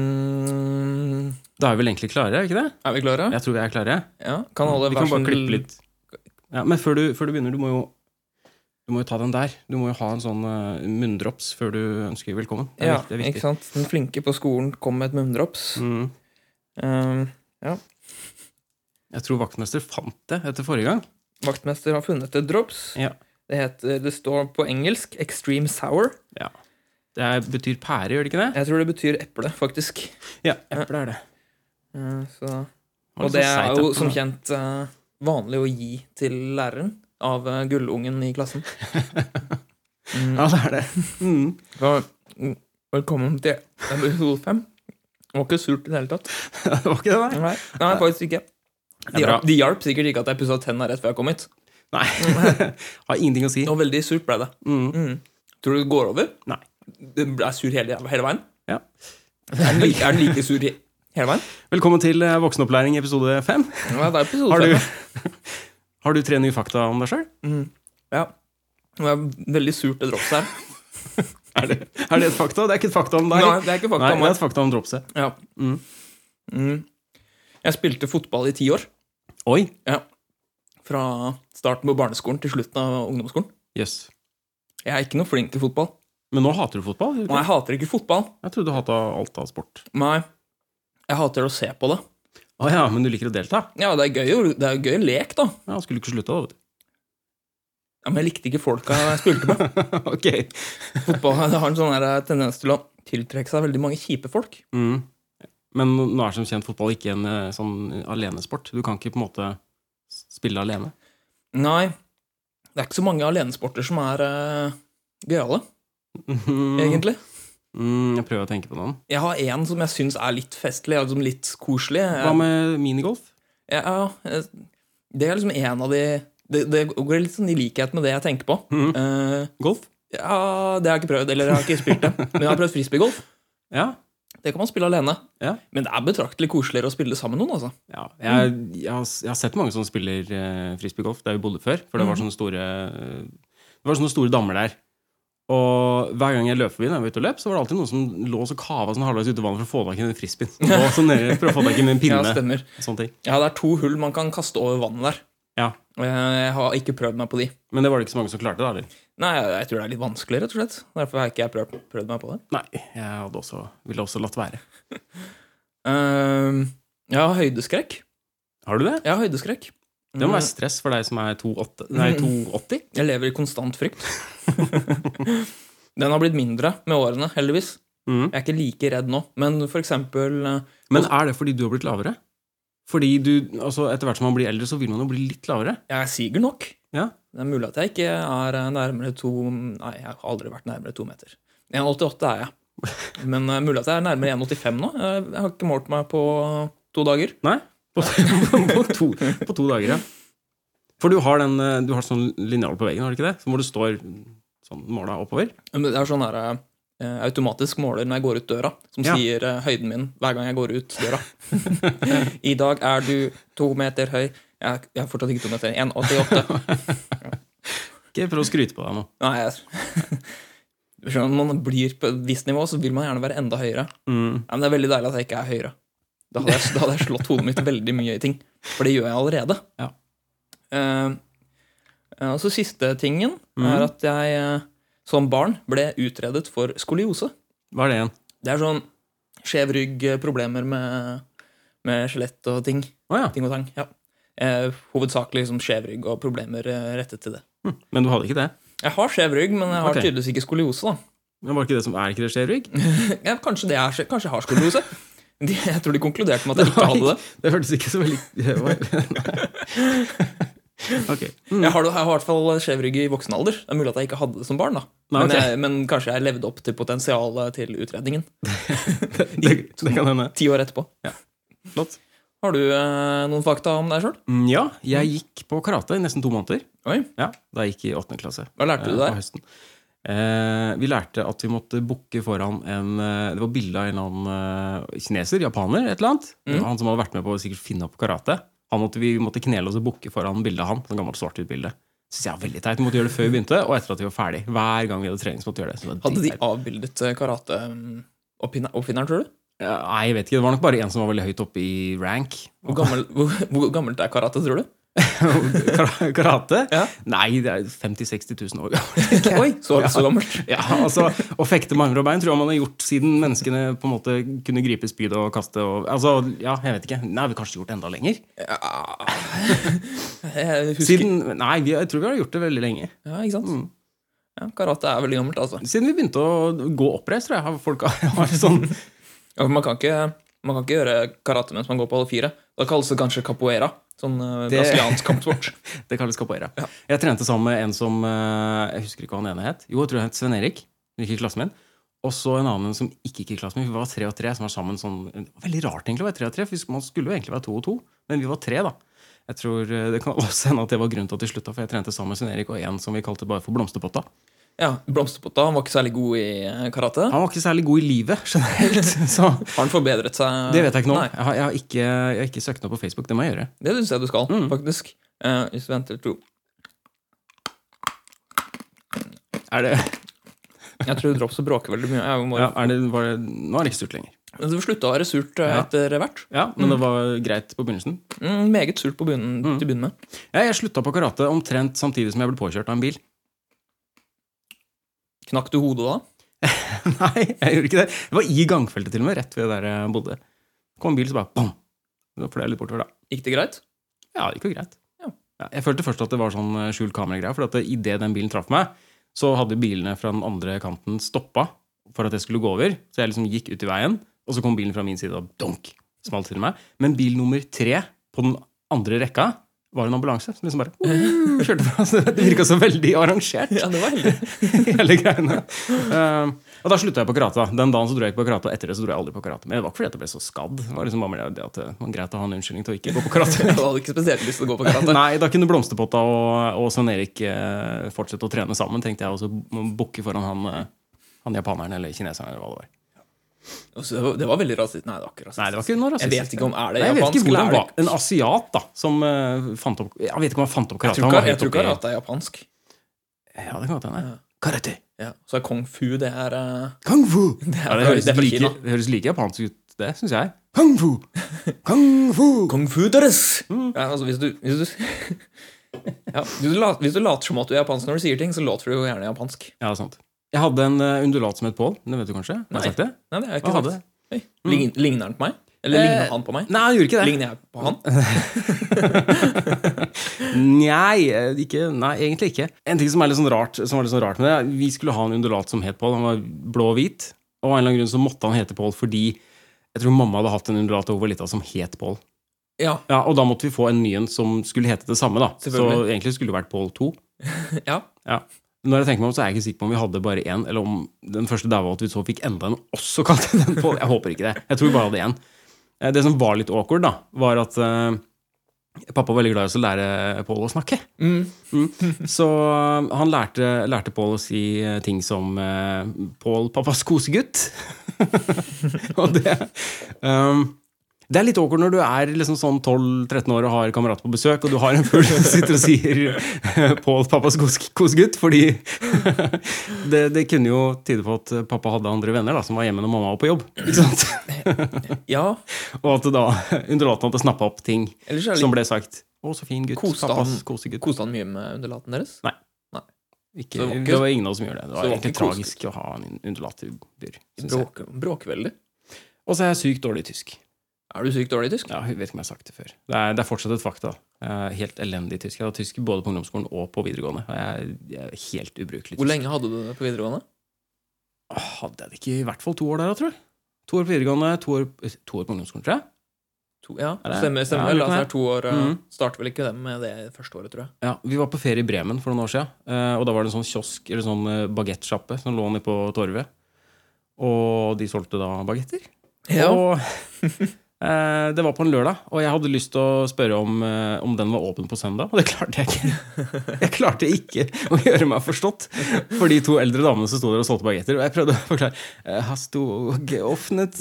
Mm, Da er vi vel egentlig klare, er vi ikke det? er vi klare? Jeg tror vi er klare. Ja. Kan holde Vi kan bare versen- klippe litt. Ja, men før du, før du begynner, du må jo du må jo ta den der. Du må jo ha en sånn eh, munndrops før du ønsker velkommen. Det er, Ja, viktig- det er ikke viktig. sant? Den flinke på skolen kom med et munndrops. Mm. Eh, Jeg tror vaktmester fant det etter forrige gang. vaktmester har funnet et drops. Ja. Det, heter, det står på engelsk 'extreme sour'. Det er, betyr pære, gjør det ikke det? Jeg tror det betyr eple, faktisk. Ja, eple er det. Eh, så. Var Og så det er seigt jo eple, som da? kjent eh, vanlig å gi til læreren av eh, gullungen i klassen. Mm. Ja, det er det. Mm. Så, mm, velkommen til episode fem. Det var ikke surt i det hele tatt. det var ikke det, nei? Nei, nei faktisk ikke. De Det er bra. hjalp, de hjalp sikkert ikke at jeg pussa tenna rett før jeg kom hit. Nei. Har ingenting å si. Og veldig surt ble det. Mm. Mm. Tror du det går over? Nei. Det ble sur hele, hele veien? Ja. Er den like, er den like sur i, hele veien? Velkommen til eh, voksenopplæring episode fem. Ja, det er episode Har du, fem. har du tre nye fakta om deg sjøl? Mm. Ja. Det var veldig surt det dropset her. Er, det- er det et fakta? Det er ikke et fakta om deg. Nei, det er ikke fakta Nei, om det er meg. et fakta om dropset. Ja. Mm. Mm. Jeg spilte fotball i ti år. Oi. Fra starten på barneskolen til slutten av ungdomsskolen. Jøss. Jeg er ikke noe flink til fotball. Men nå hater du fotball? gjør Og du ikke? jeg hater ikke fotball. Jeg trodde du hata alt av sport. Nei. Jeg hater å se på det. Å ja, men du liker å delta? Ja, det er gøy, å- det er gøy lek, da. Ja, skulle ikke slutta, da, Ja, men jeg likte ikke folka jeg spilte med. vet du. ok. Fotball det har en sånn her tendens til å tiltrekke seg veldig mange kjipe folk. Mm. Men nå er som kjent fotball ikke en eh, sånn alenesport. Du kan ikke på en måte spille alene. Nei, det er ikke så mange alenesporter som er uh, gøyale, Egentlig? egentlig. Mm, jeg prøver å tenke på noen. Jeg har én som jeg syns er litt festlig, altså litt koselig. Hva Jeg, med minigolf? Ja, eh, det er liksom en av de Det, det går litt sånn i likhet med det jeg tenker på. Mhm. Eh, Golf? ja, det har jeg ikke prøvd, eller jeg har ikke spilt det. Men jeg har prøvd frisbeegolf. Ja. Det kan man spille alene. Ja. Men det er betraktelig koseligere å spille sammen med noen, altså. ja. Jeg, jeg, har, jeg har sett mange som spiller eh, frisbeegolf der vi bodde før. For det Mhm. var sånne store, eh, det var sånne store dammer der. Og hver gang jeg løp forbi, når jeg var ute og løp, så var det alltid noen som lå og kava sånn halvveis ute i vannet for å få tak i den frisbeen. Så lå sånn nede For å få tak i den Ja, pinne. stemmer. sånne ting. Ja, det er to hull man kan kaste over vannet der. Ja. Eh, Jeg har ikke prøvd meg på de. Men det var det ikke så mange som klarte, da? eller? Nei, jeg tror det er litt vanskelig, rett og slett. Derfor har ikke jeg prøvd, prøvd meg på det. Nei, jeg hadde også, ville også latt være. Eh, jeg har høydeskrekk. Har du det? Jeg har høydeskrekk. Det må være Mhm. stress for deg som er 2,8 Nei, 2,80? Mm, Jeg lever i konstant frykt. Den har blitt mindre med årene, heldigvis. Mhm. Jeg er ikke like redd nå. Men for eksempel eh, Men er det fordi du har blitt lavere? Fordi du, altså Etter hvert som man blir eldre, så vil man jo bli litt lavere. Jeg siger nok. Ja. Det er mulig at jeg ikke er eh, nærmere to Nei, jeg har aldri vært nærmere to meter. 1,88 er jeg. Men det er mulig at jeg er nærmere 1,85 nå. Jeg jeg har ikke målt meg på to dager. Nei? På, på, to, på to dager, ja. For du har, den, eh, du har sånn linjal på veggen, har du ikke det? Så hvor du står sånn måla oppover. Men Det er sånn der, eh, automatisk måler når jeg går ut døra, som Ja. sier eh, høyden min hver gang jeg går ut døra. I dag er du to meter høy. Jeg er, jeg er fortsatt ikke to meter. 1,88. Ikke prøv å skryte på deg nå. Nei, jeg Du skjønner, Når man blir på et visst nivå, så vil man gjerne være enda høyere. Mm. Ja, men det er veldig deilig at jeg ikke er høyere. Da hadde, jeg, da hadde jeg slått hodet mitt veldig mye i ting. For det gjør jeg allerede. Ja. Eh, eh, og så siste tingen er Mhm. at jeg eh, som barn ble utredet for skoliose. Hva er det igjen? Det er sånn skjev rygg, eh, problemer med, med skjelett og ting. Å ja. Ting og tang. Ja. Eh, hovedsakelig liksom skjev rygg og problemer eh, rettet til det. Hm. Men du hadde ikke det? Jeg har skjev rygg, men jeg har Ok. tydeligvis ikke skoliose. da. Men var det ikke det som er ikke det skjer, Rygg? Ja, kanskje, det er, kanskje jeg har skoliose. De, jeg tror de konkluderte med at jeg ikke hadde det. Det hørtes ikke så veldig det var- Ok. Mm. Jeg har, jeg har i hvert fall skjev rygg i voksen alder. Det er mulig at jeg ikke hadde det som barn, da. Nei, men, ok. jeg, men kanskje jeg levde opp til potensialet til utredningen Det, det kan hende. ti år etterpå. Flott. Har du eh, noen fakta om deg sjøl? Mm, Ja, jeg gikk på karate i nesten to måneder. Oi. Ja, Da jeg gikk i åttende klasse. Hva lærte eh, du På der? høsten. Eh, vi lærte at vi måtte bukke foran en eh, Det var bilde av en eller annen eh, kineser, japaner, et eller annet. Det var Han som hadde vært med på å sikkert finne opp karate. Han måtte, vi måtte knele oss og bukke foran bildet av han. Sånn gammelt svart-hvitt bilde. Synes jeg var veldig teit. Vi måtte gjøre det før vi begynte, og etter at vi var ferdig. Hver gang vi hadde trening, så måtte vi gjøre det. Så det var Hadde de dritteit. avbildet karateoppfinneren, mm, tror du? Ja, Nei, jeg vet ikke. Det var nok bare en som var veldig høyt oppe i rank. Hvor, gammel, hvor, hvor gammelt er karate, tror du? Kara- Karate? Ja. Nei, det er 50 000-60 000 år Oi, så, så gammelt. Ja, altså, Å fekte med armer og bein tror jeg man har gjort siden menneskene på en måte kunne gripe spyd og kaste og Altså, ja, jeg vet ikke. Nei, vi har kanskje gjort det enda lenger. Jeg husker, Siden, Mm. nei, vi, jeg tror vi har gjort det veldig lenge. Ja, ikke sant? Ja, karate er veldig gammelt, altså. Siden vi begynte å gå oppreist, tror jeg. Har folk har sånn Ja, for man, kan ikke, man kan ikke gjøre karate mens man går på alle fire. Da kalles det kanskje capoeira. Sånn eh, Det- brasiliansk kampsport. Det kalles capoeira. Jeg trente sammen med en som eh, Jeg husker ikke hva han ene het. Jo, jeg tror han het Sven-Erik. Han gikk i klassen min. Og så en annen som ikke gikk i klassen min. Vi var tre og tre. som var sammen sånn, det var Veldig rart egentlig å være tre og tre, for man skulle jo egentlig være to og to. Men vi var tre, da. Jeg tror eh, Det kan også hende at det var grunnen til at de slutta, for jeg trente sammen med Sven-Erik og en som vi kalte bare for Blomsterpotta. Ja, Blomsterpotta han var ikke særlig god i eh, karate. Han var ikke særlig god i livet generelt, så Har han forbedret seg? det vet jeg ikke nå. Nei, Jeg har, jeg har ikke, jeg har ikke søkt noe på Facebook. Det må jeg gjøre. det syns jeg du skal, Mm. faktisk. Eh, hvis du venter to Er det, Jeg tror drops og bråker veldig mye. Jeg må, ja, er det, var det, nå er det ikke surt lenger. Men Det slutta å være surt eh, Ja. etter hvert. Ja, Men det var greit på begynnelsen. Mm, meget surt på bunnen, Mm. til å begynne med. Ja, jeg slutta på karate omtrent samtidig som jeg ble påkjørt av en bil. Knakk du hodet da? Nei, jeg gjorde ikke det. Det var i gangfeltet, til og med, rett ved der jeg bodde. kom en bil, så bare bam! Da fløy jeg litt bortover, da. Gikk det greit? Ja, det gikk jo greit. Ja. Ja, jeg følte først at det var sånn eh, skjult kameragreie, for at idet den bilen traff meg, så hadde bilene fra den andre kanten stoppa for at jeg skulle gå over. Så jeg liksom gikk ut i veien, og så kom bilen fra min side og donk! Smalt til meg. Men bil nummer tre på den andre rekka var en ambulanse som liksom bare uh, kjørte fra. Så det virka så veldig arrangert. Ja, det var heldig. hele greiene. Ehm, og da slutta jeg på karate. Den dagen så dro jeg ikke på karate, og etter det så dro jeg aldri på karate. Men det var ikke fordi at jeg ble så skadd. Det var liksom bare mer det at det var greit å ha en unnskyldning til å ikke gå på karate. Jeg hadde ikke spesielt lyst til å gå på karate. Nei, da kunne Blomsterpotta og, og Svein-Erik eh, fortsette å trene sammen, tenkte jeg, og så bukke foran han, eh, han japaneren eller kineseren eller hva det var. Og så Det var, det var veldig rasistisk. Nei, det var ikke rasistisk. Nei, det var ikke noe Jeg rasistisk. vet ikke om er det Nei, jeg vet japansk ikke eller hvor er han det- var. En asiat, da, som eh, fant opp Jeg vet ikke om han fant opp Jeg karate. tror Han ikke, var jeg helt tror ikke oppi- at det er japansk. Ja, det kan godt hende. Karate! Ja. Så er kung fu det er eh, Kung fu! er Ja, det, fra- høres det er fra like, Kina. det høres like japansk ut, det syns jeg. Kung fu! Kung fu! Kung fu deres! Mm. Ja, altså, hvis du, hvis du, ja, hvis, du later, hvis du later som at du er japansk når du sier ting, så låter du jo gjerne japansk. Ja, sant. Jeg hadde en eh, undulat som het Pål. Det vet du kanskje? Har Nei. jeg sagt det? Nei, det er Hva ikke hadde sant. Oi, lign- Ligner han på meg? Eller Eh, ligner han på meg? Nei, han gjorde ikke det. Ligner jeg på han? Nei, eh, ikke, nei, egentlig ikke. En ting som er litt sånn rart, som var litt sånn rart med det, vi skulle ha en undulat som het Pål. Han var blå og hvit. Og av en eller annen grunn så måtte han hete Pål fordi jeg tror mamma hadde hatt en undulat over lita som het Pål. Ja. Ja, og da måtte vi få en ny en som skulle hete det samme, da. Så Selvfølgelig. egentlig skulle det vært Pål 2. ja. Ja. Når jeg tenker meg om, så er jeg ikke sikker på om vi hadde bare én, eller om den første daua at vi så fikk enda en og også kalte den på. Jeg håper ikke det. Jeg tror vi bare hadde én. Eh, Det som var litt awkward, da, var at eh, pappa var veldig glad i å lære Pål å snakke. Mm. Så eh, han lærte, lærte Pål å si eh, ting som eh, 'Pål, pappas kosegutt'. og det ehm, det er litt awkward når du er liksom sånn 12-13 år og har kamerater på besøk, og du har en fugl som sitter og sier eh, 'Pål, pappas kos- kosegutt', fordi det, det kunne jo tyde på at pappa hadde andre venner da, som var hjemme når mamma var på jobb. Ikke sant? ja. Og at det da underlatan hadde snappa opp ting Ellers er det som litt ble sagt. 'Å, så fin gutt. Koste han. Pappas kosegutt'. Koste han mye med underlaten deres? Ikke, Så det var ikke- det var ingen av oss som gjorde det. Det det var var egentlig ikke kosegutt. tragisk å ha en underlat i bur. synes jeg. Bråker bråker veldig. Og så er jeg sykt dårlig i tysk. Er du sykt dårlig i tysk? Ja, jeg vet ikke om jeg har sagt det før. Det er, det er fortsatt et fakta. Jeg er helt elendig i tysk. Jeg var tysk både på ungdomsskolen og på videregående. Og jeg, er- jeg er helt ubrukelig. i Hvor tysk. lenge hadde du det på videregående? Åh, Hadde jeg det ikke i hvert fall to år der, da, tror jeg. To år på videregående, to år, eh, to år på ungdomsskolen, tror jeg. To, ja, Er det- stemmer, stemmer Ja, vel. litt Altså, mer. det er to år, eh, Mhm. Starter vel ikke det med det første året, tror jeg. Ja, Vi var på ferie i Bremen for noen år siden. eh, Og da var det en sånn kiosk eller sånn bagettsjappe som lå nede på torvet. Og de solgte da bagetter. Og eh, det var på en lørdag, og jeg hadde lyst til å spørre om, eh, om den var åpen på søndag, og det klarte jeg ikke. Jeg klarte ikke å gjøre meg forstått for de to eldre damene som sto der og solgte bagetter. Og jeg prøvde å forklare eh, Hast du geöffnet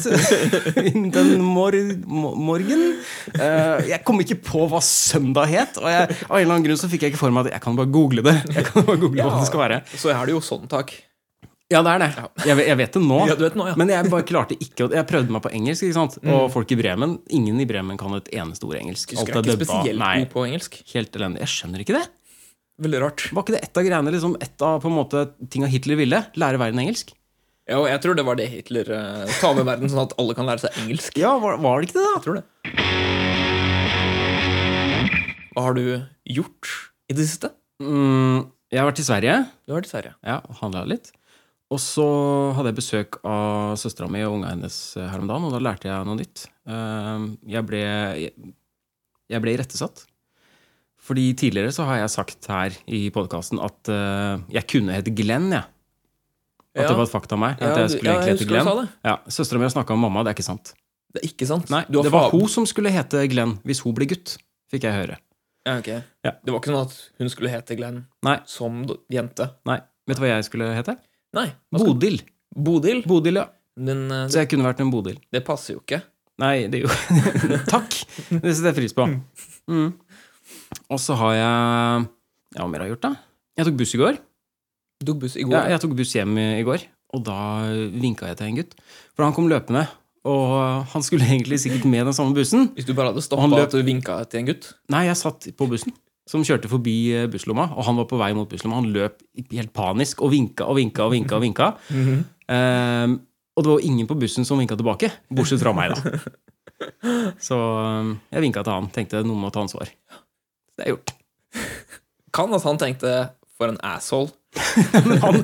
in eh, den mor mo- morgen? Eh, jeg kom ikke på hva søndag het, og jeg, av en eller annen grunn så fikk jeg ikke for meg at jeg kan bare google det. Jeg kan bare google hva det skal være. Så er det jo sånn, takk. Ja, det er det. Jeg, ve- jeg vet det nå. Ja, du vet nå, ja. Mm. Men jeg bare klarte ikke å Jeg prøvde meg på engelsk, ikke sant? og folk i Bremen Ingen i Bremen kan et eneste ord engelsk. Husker Alt jeg er ikke dubba. spesielt Nei, god på engelsk. helt elendig. Jeg skjønner ikke det. Veldig rart. Var ikke det ett av greiene liksom, ett av på en måte tinga Hitler ville? Lære verden engelsk? Ja, og jeg tror det var det Hitler uh, ta over verden, sånn at alle kan lære seg engelsk. Ja, var, var det ikke det, Jeg tror det. Hva har du gjort i det siste? da? Mm, jeg har vært i Sverige Du har vært i Sverige. ja, og handla litt. Og så hadde jeg besøk av søstera mi og unga hennes eh, her om dagen, og da lærte jeg noe nytt. Eh, Jeg ble, jeg, jeg ble irettesatt. Fordi tidligere så har jeg sagt her i podkasten at eh, jeg kunne hete Glenn, jeg. At Ja. det var et fakta om meg. Ja, At jeg du- ja, skulle jeg egentlig hete husker du Glenn. sa det. Ja, Søstera mi har snakka om mamma, det er ikke sant. Det er ikke sant. Nei, Du har det var fa- hun som skulle hete Glenn hvis hun ble gutt, fikk jeg høre. Ja, ok. Ja. Det var ikke sånn at hun skulle hete Glenn Nei. som d- jente. Nei, vet du hva jeg skulle hete? Nei. hva skal- Bodil. Bodil. Bodil, ja. Men eh, Så jeg kunne vært en Bodil. det passer jo ikke. Nei, det er jo Takk! Det setter jeg pris på. Mm. Og så har jeg Ja, hva mer har jeg gjort, da? Jeg tok buss i går. Du tok buss i går. Ja, jeg tok buss hjem i i går, og da vinka jeg til en gutt. For han kom løpende, og han skulle egentlig sikkert med den samme bussen. Hvis du bare hadde Han stoppa løp- at du vinka til en gutt. Nei, jeg satt på bussen som kjørte forbi eh, busslomma, og han var på vei mot busslomma. Han løp i- helt panisk og vinka og vinka og vinka. Og vinka. Ehm, og det var jo ingen på bussen som vinka tilbake, bortsett fra meg, da. Så ehm, jeg vinka til han. Tenkte noen må ta ansvar. Det er gjort. Kan at han tenkte 'for en asshole'. Men han,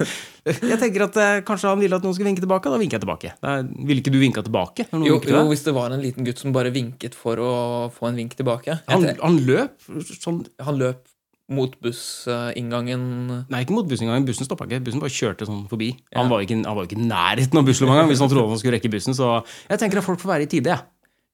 jeg tenker at eh, Kanskje han ville at noen skulle vinke tilbake, da vinker jeg tilbake. Da ville ikke du vinka tilbake? når noen Jo, vinker til jo, deg? hvis det var en liten gutt som bare vinket for å få en vink tilbake. Jeg han, te- han løp sånn han løp mot bussinngangen. Nei, ikke mot bussen engang. Bussen stoppa ikke. Bussen bare kjørte sånn forbi. Ja. Han var jo ikke han var jo ikke i nærheten av busslomma engang hvis han trodde han skulle rekke bussen. Så jeg tenker at folk får være i tide. Jeg,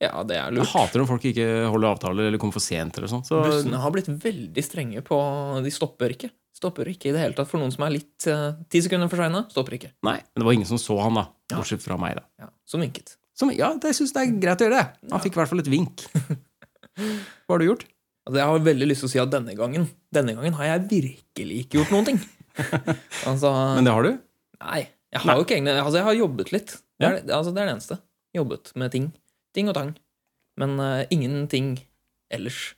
Ja, det er jeg lurt. hater om folk ikke holder avtaler eller kommer for sent eller sånn. Så Bussene har blitt veldig strenge på De stopper ikke. Stopper ikke i det hele tatt for noen som er litt eh, ti sekunder for seine. Stopper ikke. nei. Men det var ingen som så han, da. Bortsett fra meg, da. Ja, Som vinket. Som, ja, det syns jeg er greit å gjøre det. Han fikk i hvert fall et vink. Hva har du gjort? Altså, jeg har veldig lyst til å si at denne gangen Denne gangen har jeg virkelig ikke gjort noen ting. altså, Men det har du? nei. Jeg har jo ikke egentlig Altså, jeg har jobbet litt. Det er, altså, det er det eneste. Jobbet med ting. Ting og tang. Men eh, ingenting ellers.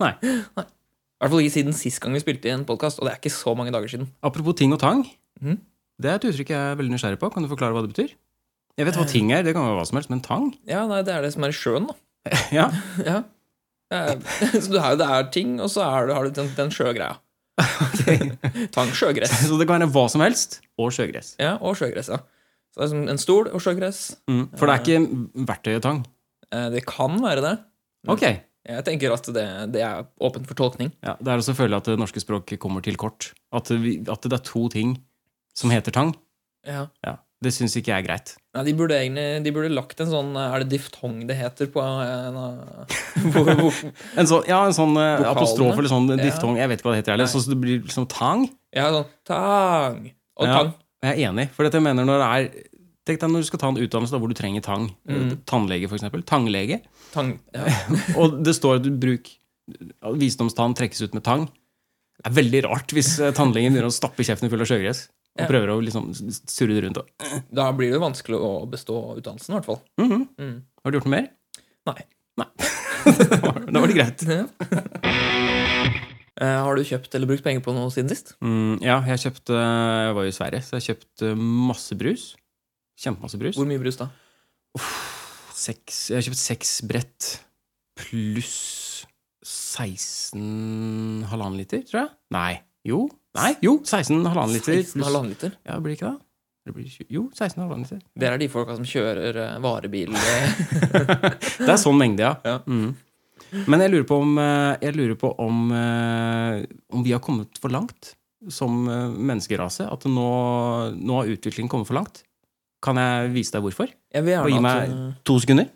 Nei. I hvert fall ikke siden sist gang vi spilte i en podkast, og det er ikke så mange dager siden. Apropos ting og tang. Mhm. Det er et uttrykk jeg er veldig nysgjerrig på. Kan du forklare hva det betyr? Jeg vet hva ting er, det kan være hva som helst, men tang? Ja, nei, det er det som er i sjøen, da. Ja, Ja. Eh, Så du har jo det er ting, og så er du, har du den, den sjøgreia. ok. Tang sjøgress. Så det kan være hva som helst og sjøgress. Ja, og sjøgress, ja. Så det er som en stol og sjøgress. Mm, for det er ikke verktøy og tang. Eh, Det kan være det. Ok. Jeg tenker at det, det er åpent for tolkning. Ja, det er også å føle at det norske språk kommer til kort. At, vi, at det er to ting som heter tang. Ja. Ja, det syns ikke jeg er greit. Nei, de burde egentlig de burde lagt en sånn eh, Er det diftong det heter på en, eh, hvor, hvor, En sånn, ja, en sånn eh, Vokalene. apostrof eller sånn diftong, jeg vet ikke hva det heter heller. Nei. Sånn at det blir liksom tang. Ja, sånn tang og Ja. tang. Jeg er enig, for dette jeg mener når det er Tenk deg når du skal ta en utdannelse da, hvor du trenger tang. Tannlege, for eksempel. Tanglege. Tang ja. Og det står at du bruk visdomstann trekkes ut med tang. Det er veldig rart hvis eh, tannlegen begynner å stappe kjeften full av sjøgress og Ja. prøver å liksom surre det rundt. og- Da blir det vanskelig å bestå utdannelsen, i hvert fall. Mhm. Mm. Har du gjort noe mer? Nei. Da var- da var det greit. Eh, Har du kjøpt eller brukt penger på noe siden sist? Mm, ja, jeg kjøpte Jeg var jo i Sverige, så jeg kjøpte masse brus. Kjempemasse brus. Hvor mye brus, da? Seks, jeg har kjøpt seks brett pluss 16 halvannen liter, tror jeg. Nei. Jo. Nei, jo, 16 halvannen liter. 16 pluss- halvannen liter. Ja, blir det ikke det? Eller blir det tjue- Jo, 16 halvannen liter. Dere er de folka som kjører eh, varebil eh, Det er sånn mengde, ja. Ja. Mm. Men jeg lurer på, om, eh, jeg lurer på om, eh, om vi har kommet for langt som eh, menneskerase. At nå, nå har utviklingen kommet for langt. Kan jeg vise deg hvorfor? Jeg vil Og gi gjerne at eh, meg to sekunder?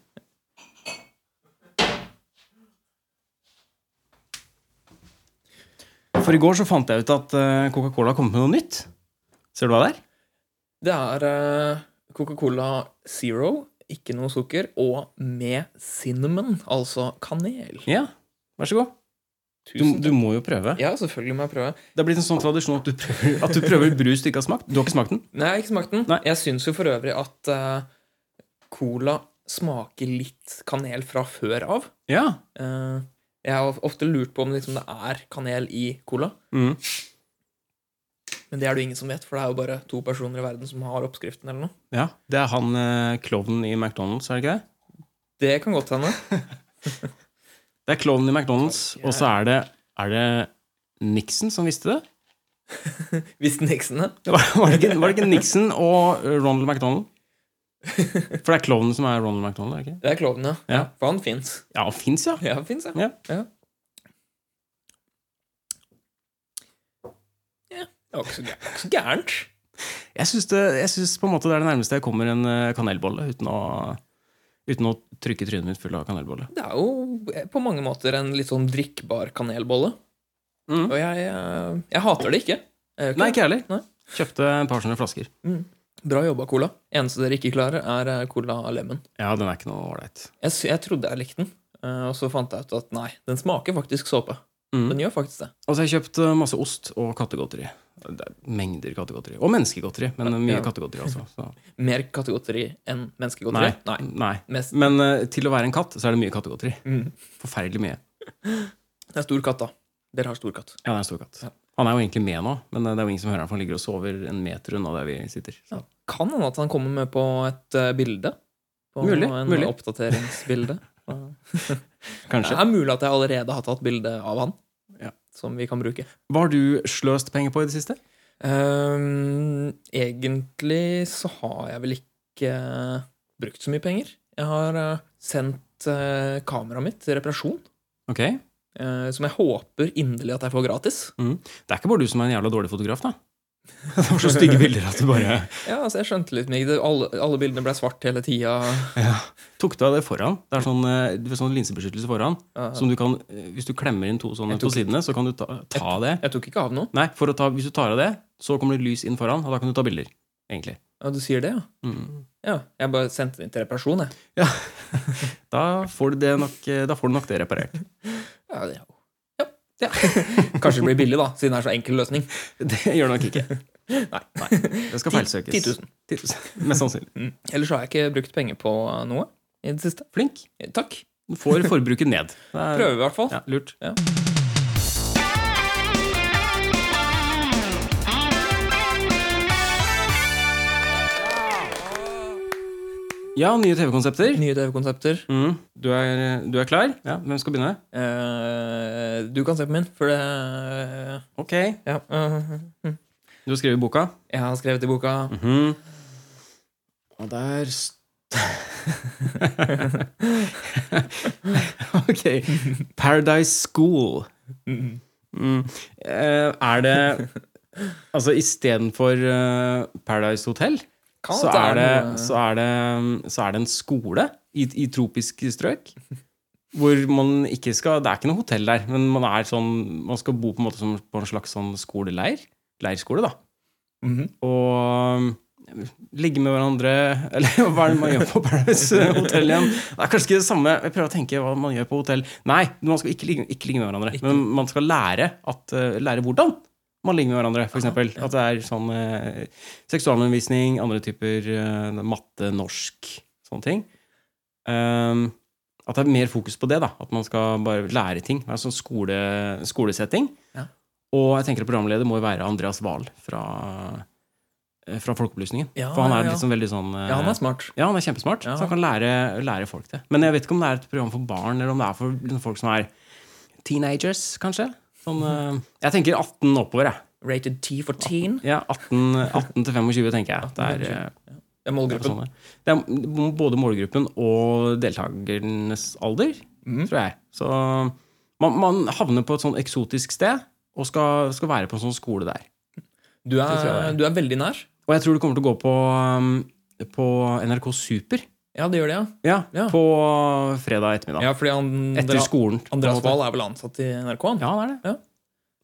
For i går så fant jeg ut at eh, Coca-Cola har kommet med noe nytt. Ser du hva det er? Det er eh, Coca-Cola Zero, ikke noe sukker, og med cinnamon, altså kanel. Ja, vær så god. Du, Tusen du må jo prøve. Ja, selvfølgelig må jeg prøve. Det er blitt en sånn tradisjon at du prøver, at du prøver brus du ikke har smakt. Du har ikke smakt den? Nei, jeg har ikke smakt den. Nei. Jeg syns jo for øvrig at eh, cola smaker litt kanel fra før av. Ja. Eh, jeg har ofte lurt på om liksom, det er kanel i cola. Mm. Men det er det jo ingen som vet, for det er jo bare to personer i verden som har oppskriften. eller noe. ja. Det er han eh, klovnen i McDonald's, er det ikke det? Det kan godt hende. Det er klovnen i McDonald's, og så er det, er det Nixon som visste det? Hvis Nixon er. Var var det ikke, var det ikke Nixon og eh, Ronald McDonald? For det er klovnen som er Ronald McDonald? er det ikke? Det er klovnen, ja. Ja. For han fins. Ja, han fins, ja. Ja, han fins, ja. Ja. Ja, Det var ikke så gæ- ikke så gærent. Jeg syns det, jeg synes på en måte det er det nærmeste jeg kommer en eh, kanelbolle uten å, uten å trykke trynet mitt full av kanelbolle. Det er jo eh, på mange måter en litt sånn drikkbar kanelbolle. Og jeg, eh, jeg hater det ikke. Jeg gjør Mm. Nei, ikke ikke jeg heller. Nei. Kjøpte et par sånne flasker. det. Bra jobba, Cola. Eneste dere ikke klarer, er eh, Cola Lemon. Ja, den er ikke noe ålreit. Jeg, sy- jeg trodde jeg likte den, eh, og så fant jeg ut at nei, den smaker faktisk såpe. Mm. Den gjør faktisk det. Og så har jeg kjøpt eh, masse ost og kattegodteri. Det er mengder kattegodteri. Og menneskegodteri, men mye Ja. kattegodteri også. Så. Mer kattegodteri enn Nei. menneskegodteri? Nei. Mest, Men eh, til å være en katt, så er det mye kattegodteri. mm. Forferdelig mye. Det er stor katt, da. Dere har stor katt. Ja, det er en stor katt. Ja. Han er jo egentlig med nå, men eh, det er jo ingen som hører han, for han ligger og sover en meter unna der vi sitter. Så. Kan hende at han kommer med på et eh, bilde. På Mulig, en mulig. oppdateringsbilde. Det Kanskje. er mulig at jeg allerede har tatt bilde av han, Ja. som vi kan bruke. Hva har du sløst penger på i det siste? Ehm, egentlig så har jeg vel ikke brukt så mye penger. Jeg har eh, sendt eh, kameraet mitt til reparasjon, Ok. Det eh, som jeg håper inderlig at jeg får gratis. er ikke bare du som er en jævla dårlig fotograf, da. Det var så stygge bilder at du bare Ja, altså Jeg skjønte litt meg. Det- Alle, alle bildene ble svart hele tida. tok deg det foran. Det er sånn, eh, du får sånn linsebeskyttelse foran. Ja. Som du kan, eh, hvis du klemmer inn to sånne Jeg to tok- sidene, så kan du ta, ta det. Jeg tok ikke av noe. Nei, for å ta, hvis du tar av det, så kommer det lys inn foran, og da kan du ta bilder. Egentlig. Ja, du sier det, ja? Mm. Ja, Jeg bare sendte den til reparasjon, jeg. Da, får du det nok, eh, da får du nok det reparert. Ja, det, ja. ja. Kanskje det blir billig, da, siden det er så enkel løsning. Det gjør det nok ikke. Nei. Det skal Ti- feilsøkes. 10 000. 10 000. Mest sannsynlig. Mm. Ellers har jeg ikke brukt penger på uh, noe i det siste. Flink. Eh, Takk. Du får forbruket ned. Det er- Prøver i hvert fall. Ja, lurt. Ja. Ja, nye TV-konsepter. Nye TV-konsepter. Mm. Du, er, du er klar? Ja, Hvem skal begynne? Eh, du kan se på min, for det Ok. Ja. eh, Du har skrevet boka. jeg har skrevet i boka Mhm. Og der st Ok. Paradise School. Mm. Eh, er det Altså istedenfor uh, Paradise Hotel, Kan så at er, det det, noe- så, er det, så er det en skole i, i tropiske strøk. Hvor man ikke skal Det er ikke noe hotell der, men man, er sånn, man skal bo på en, måte som, på en slags sånn skoleleir. Leirskole, da Mhm. og um, ligge med hverandre Eller hva er det man gjør på Paradise Hotel igjen? Det er kanskje ikke det samme. Jeg prøver å tenke hva man gjør på hotell. Nei, man skal ikke ligge, ikke ligge med hverandre. Ikke. Men man skal lære, at, eh, lære hvordan man ligger med hverandre, f.eks. At det er sånn eh, seksualundervisning, andre typer eh, matte, norsk, sånne ting. Um, at det er mer fokus på det. da At man skal bare lære ting. Det er sånn skole, skolesetting. Ja. Og jeg tenker at programleder må jo være Andreas Wahl fra, eh, fra Folkeopplysningen. Ja, For han ja, er ja. liksom veldig sånn eh, Ja, han er smart. ja, han er kjempesmart. Ja. Så han kan lære, lære folk det. Men jeg vet ikke om det er et program for barn, eller om det er for liksom folk som er teenagers, kanskje. Sånn, eh, jeg tenker 18 oppover, jeg. Rated T for teen. Ja, 18, 18 til 25, tenker jeg. Det er, eh, Det er det er målgruppen. sånn det. det er både målgruppen og deltakernes alder, Mm. tror jeg. Så man, man havner på et sånn eksotisk sted og skal, skal være på en sånn skole der. Du tror er, jeg. du er veldig nær. Og jeg tror det kommer til å gå på, um, på NRK Super. Ja, det gjør det, ja. Ja, Ja. På fredag ettermiddag. ja fordi han, Etter skolen. på en Andreas måte. Wahl er vel ansatt i NRK? Han. Ja, det er det. Ja.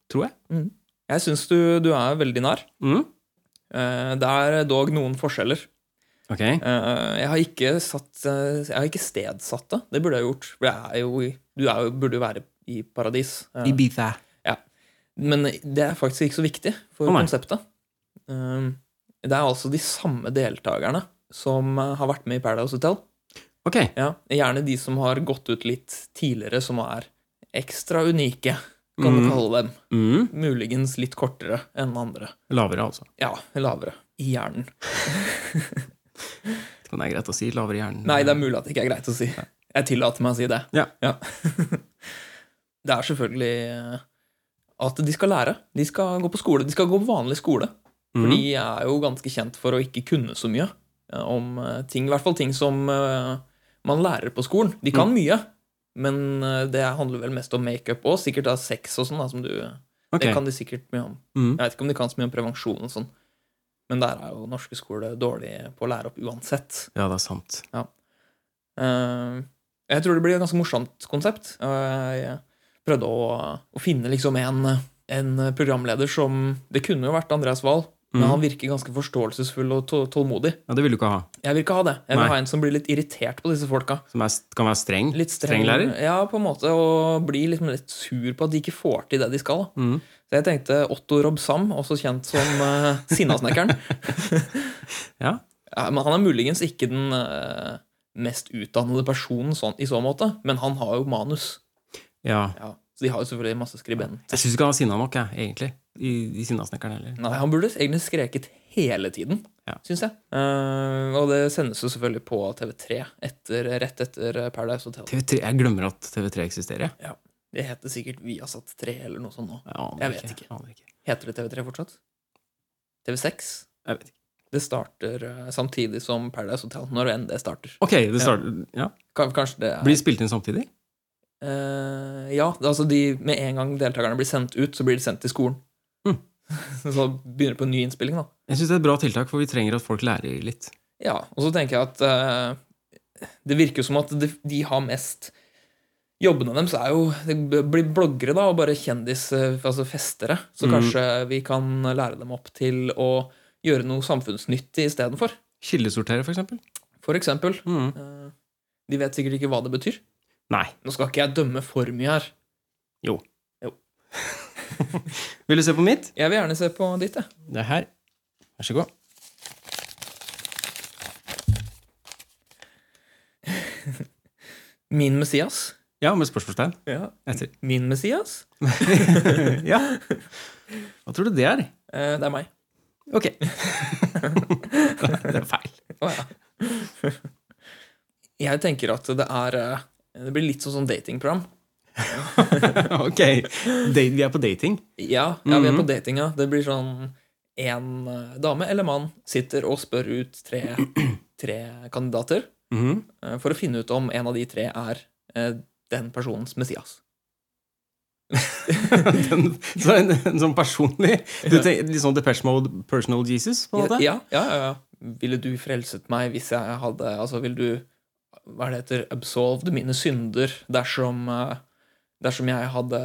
Tror jeg. Jeg syns du, du er veldig nær. Mm. Eh, Det er dog noen forskjeller. Ok. Eh, Jeg har ikke, satt, eh, jeg har ikke stedsatt det. Det burde jeg gjort. For jeg er jo, i- du er jo, burde jo være i paradis. Eh, Ibiza. Men det er faktisk ikke så viktig for Å, nei. konseptet. Um, Det er altså de samme deltakerne som eh, har vært med i Paradise Hotel. Ok. Ja, Gjerne de som har gått ut litt tidligere, som er ekstra unike, kan man Mm. kalle dem. Mm. Muligens litt kortere enn andre. Lavere, altså. Ja, lavere. I hjernen. Vet ikke om det er greit å si. Lavere i hjernen. Nei, det er mulig at det ikke er greit å si. Jeg tillater meg å si det. Ja. det er selvfølgelig eh, at de skal lære. De skal gå på skole. De skal gå på vanlig skole. Mm. For de er jo ganske kjent for å ikke kunne så mye eh, om eh, ting. I hvert fall ting som eh, man lærer på skolen. De kan mye, men eh, det handler vel mest om makeup og sikkert da sex og sånn. da, som du... Ok. Det kan de sikkert mye om. Mm. Jeg vet ikke om de kan så mye om prevensjon og sånn. Men der er jo norske skole dårlig på å lære opp uansett. Ja, det er sant. Eh, jeg tror det blir et ganske morsomt konsept. Eh, jeg prøvde å, å finne liksom en, en programleder som Det kunne jo vært Andreas Wahl, men Mhm. han virker ganske forståelsesfull og tå- tålmodig. Ja, Det vil du ikke ha. Jeg vil ikke ha det. Jeg vil Nei. ha en som blir litt irritert på disse folka. Som er, kan være streng. Litt streng, streng lærer? Ja, på en måte, og blir liksom litt sur på at de ikke får til det de skal. da. Mhm. Så jeg tenkte Otto Rob Sam, også kjent som uh, Sinnasnekkeren. Ja. Ja, men han er muligens ikke den eh, mest utdannede personen sånn, i så måte, men han har jo manus. ja. Ja, Så de har jo selvfølgelig masse skribenter. Jeg syns ikke han var sinna nok, jeg, egentlig. I, i Sinnasnekkeren heller. Nei, Han burde egentlig skreket hele tiden, Ja. syns jeg. Eh, og det sendes jo selvfølgelig på TV3 etter, rett etter Paradise Hotel. TV3, jeg glemmer at TV3 eksisterer. jeg. Det heter sikkert Viasat3 eller noe sånt nå. Jeg, aner Jeg vet ikke. Aner ikke. Heter det TV3 fortsatt? TV6? Jeg vet ikke. Det starter eh, samtidig som Paradise Hotel, når enn det starter. Ok, det starter, ja. Kan- Kanskje det er Blir det spilt inn samtidig? Eh, ja, det- altså de, med en gang deltakerne blir sendt ut, så blir de sendt til skolen. Mm. så begynner det på en ny innspilling, da. Jeg syns det er et bra tiltak, for vi trenger at folk lærer litt. Ja, og så tenker jeg at eh, det virker jo som at de, de har mest Jobbene deres er jo Det b- blir bloggere, da, og bare kjendis, eh, altså festere. Så Mm. kanskje vi kan lære dem opp til å gjøre noe samfunnsnyttig istedenfor. Kildesortere, for eksempel. For eksempel. Mhm. eh, de vet sikkert ikke hva det betyr. Nei. Nå skal ikke jeg dømme for mye her. Vil du se på mitt? Jeg vil gjerne se på ditt, jeg. Det er her. Vær så god. Min Messias. Ja, med spørsmålstegn etter. Min Messias? ja. Hva tror du det er? Eh, det er meg. Ok. det er feil. Å ja. Jeg tenker at det er eh, Det blir litt sånn sånn datingprogram. ok. Da- vi er på dating. Ja, ja, vi er på datinga. Det blir sånn en eh, dame eller mann sitter og spør ut tre, tre kandidater Mhm. eh, for å finne ut om en av de tre er eh, den personens Messias. Den, så en, en sånn personlig du tenker, Litt sånn Depeche Mode, personal Jesus? på en måte? Ja, ja, ja, ja. Ville du frelset meg hvis jeg hadde Altså, ville du Hva er det heter? Absolved mine synder dersom, eh, dersom jeg hadde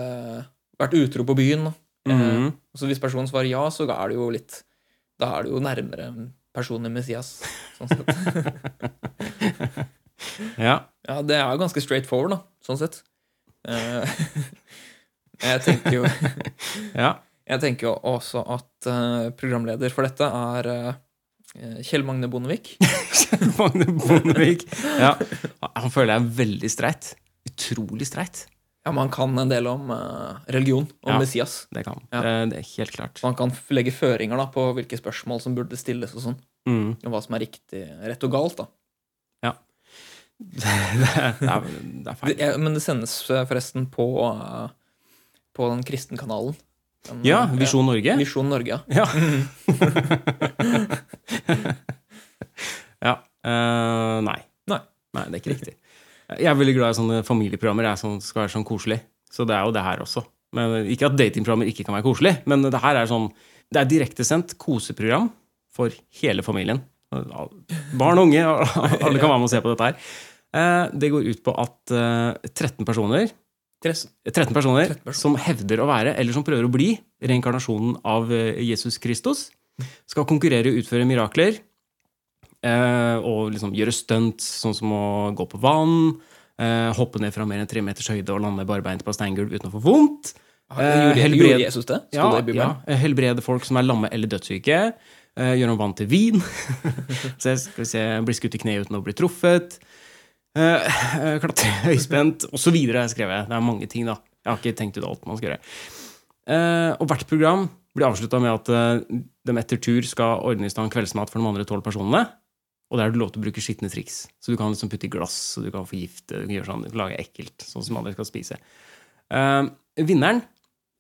vært utro på byen. Eh, Mhm. Så hvis personen svarer ja, så er det jo litt Da er det jo nærmere personen Messias. Sånn sett. ja. Ja, det er jo ganske straight forward, da. Sånn sett. Eh, Jeg tenker jo ja. Jeg tenker jo også at eh, programleder for dette er eh, Kjell Magne Bondevik. Magne Bondevik. Ja. Han føler jeg er veldig streit. Utrolig streit. Ja, Man kan en del om eh, religion, om Ja. Messias. Det kan han. Eh, Ja. Det, det er helt klart. Så han kan f- legge føringer da, på hvilke spørsmål som burde stilles, og sånn. Mm. Og hva som er riktig, rett og galt. da. Det, er, det er- det er Det, feil. eh, men det sendes eh, forresten på, eh, på den kristenkanalen. Den, Ja, eh, Visjon Norge. Visjon Norge, ja. Ja. ja. eh, nei. Nei. det er ikke riktig. Jeg er veldig glad i sånne familieprogrammer jeg, som skal være sånn koselig. Så det er jo det her også. Men, ikke at datingprogrammer ikke kan være koselig, men det her er sånn Det er direktesendt koseprogram for hele familien. Barn og unge, alle kan være med og se på dette her. Eh, Det går ut på at eh, 13 personer Tres- 13 personer 13 personer. som hevder å være, eller som prøver å bli, reinkarnasjonen av eh, Jesus Kristus. Skal konkurrere og utføre mirakler. eh, Og liksom gjøre stunt, sånn som å gå på vann. eh, hoppe ned fra mer enn tre meters høyde og lande barbeint på steingulv uten å få vondt. Gjorde, helbred- gjorde Jesus det? Sto det i ja, Bibelen? ja. Helbrede folk som er lamme eller dødssyke. eh, Gjøre om vann til vin. så jeg skal vi se, Bli skutt i kneet uten å bli truffet. eh, eh, Klatre høyspent, osv. har jeg skrevet. Det er mange ting, da. Jeg har ikke tenkt ut alt man skal gjøre. Eh, og hvert program blir avslutta med at eh, de etter tur skal ordne i stand kveldsmat for de andre tolv personene. Og der er det lov til å bruke skitne triks. Så du kan liksom putte i glass, og du kan forgifte, du kan gjøre sånn, du kan lage ekkelt, sånn som alle skal spise. Eh, vinneren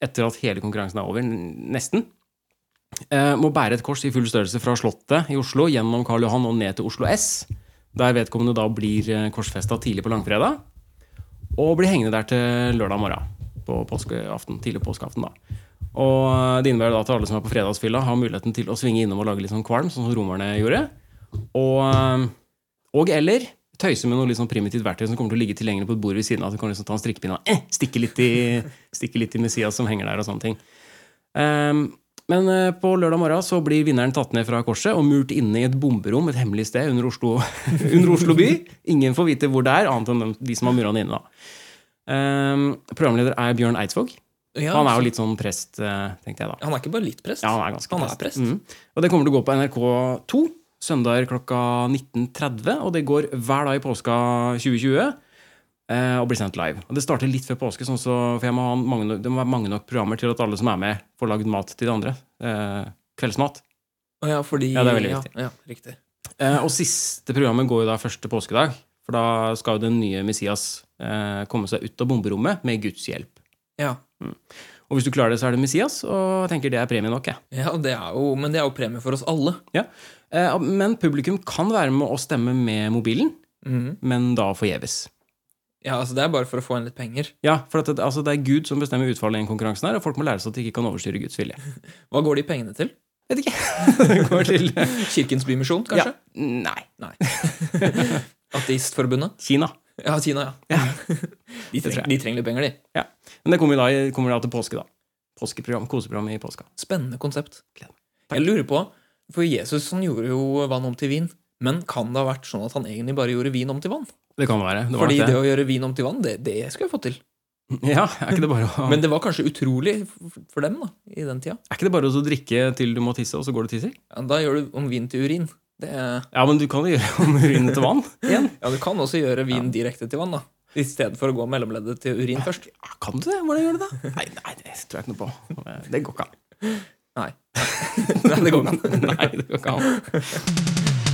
etter at hele konkurransen er over, n- nesten, eh, må bære et kors i full størrelse fra Slottet i Oslo gjennom Karl Johan og ned til Oslo S, der vedkommende da blir korsfesta tidlig på langfredag, og blir hengende der til lørdag morgen på påskeaften, tidlig påskeaften. da. Og eh, Det innebærer da at alle som er på fredagsfylla, har muligheten til å svinge innom og lage litt sånn kvalm, sånn som romerne gjorde. Og, eh, og eller tøyse med noe litt sånn primitivt verktøy som kommer til å ligge tilgjengelig på et bord ved siden av. Så kan du liksom ta en strikkepinne og eh, stikke, litt i, stikke litt i Messias som henger der, og sånne ting. Ehm, men eh, på lørdag morgen så blir vinneren tatt ned fra korset og murt inne i et bomberom et hemmelig sted under Oslo, under Oslo by. Ingen får vite hvor det er, annet enn de, de som har mura den inne, da. Ehm, programleder er Bjørn Eidsvåg. Ja, Han er jo litt sånn prest, eh, tenkte jeg da. han er ikke bare litt prest. Ja, han er ganske Han er prest. Mm. Og det kommer til å gå på NRK2 søndager klokka 19.30, og det går hver dag i påska 2020. eh, Og blir sendt live. Og Det starter litt før påske, sånn så, for jeg må ha mange, nok- det må være mange nok programmer til at alle som er med, får lagd mat til de andre. Eh, kveldsmat. Å ja, fordi, Ja, det er veldig viktig. Ja, riktig. Eh, og siste programmet går jo da første påskedag. For da skal jo den nye Messias eh, komme seg ut av bomberommet med Guds hjelp. Ja. Og hvis du klarer det, så er det Messias, og jeg tenker det er premie nok. jeg. Ja, det er jo, men det er jo premie for oss alle. Ja. Eh, Men publikum kan være med å stemme med mobilen, Mhm. men da forgjeves. Ja, altså Det er bare for å få inn litt penger. Ja, for at det, altså det er Gud som bestemmer utfallet i den konkurransen, her, og folk må lære seg at de ikke kan overstyre Guds vilje. Hva går de pengene til? Vet ikke. Det går til Kirkens Bymisjon, ja. kanskje? Nei. Ateistforbundet? Kina. Ja, Kina, ja. De, tror jeg. treng, de trenger litt penger, de. Ja. Men det kommer da, i- kommer da til påske, da. Påskeprogram, Koseprogram i påska. Spennende konsept. Gleder meg. Takk. Jeg lurer på, for Jesus han gjorde jo vann om til vin, men kan det ha vært sånn at han egentlig bare gjorde vin om til vann? Det kan være. Det var Fordi nok det å gjøre vin om til vann, det, det skulle jeg fått til. Ja, er ikke det bare å Men det var kanskje utrolig f- for dem da, i den tida. Er ikke det bare å drikke til du må tisse, og så går du og tisser? Ja, Da gjør du om vin til urin. Det, er- Ja, men du kan jo gjøre om urinen til vann igjen. ja, Du kan også gjøre vin direkte til vann, da. I stedet for å gå mellomleddet til urin først. Ja, Kan du det? Hvordan gjør du det? Nei, nei, det tror jeg ikke noe på. Det går ikke an. Nei. Nei, det går ikke an. Nei, det går ikke an.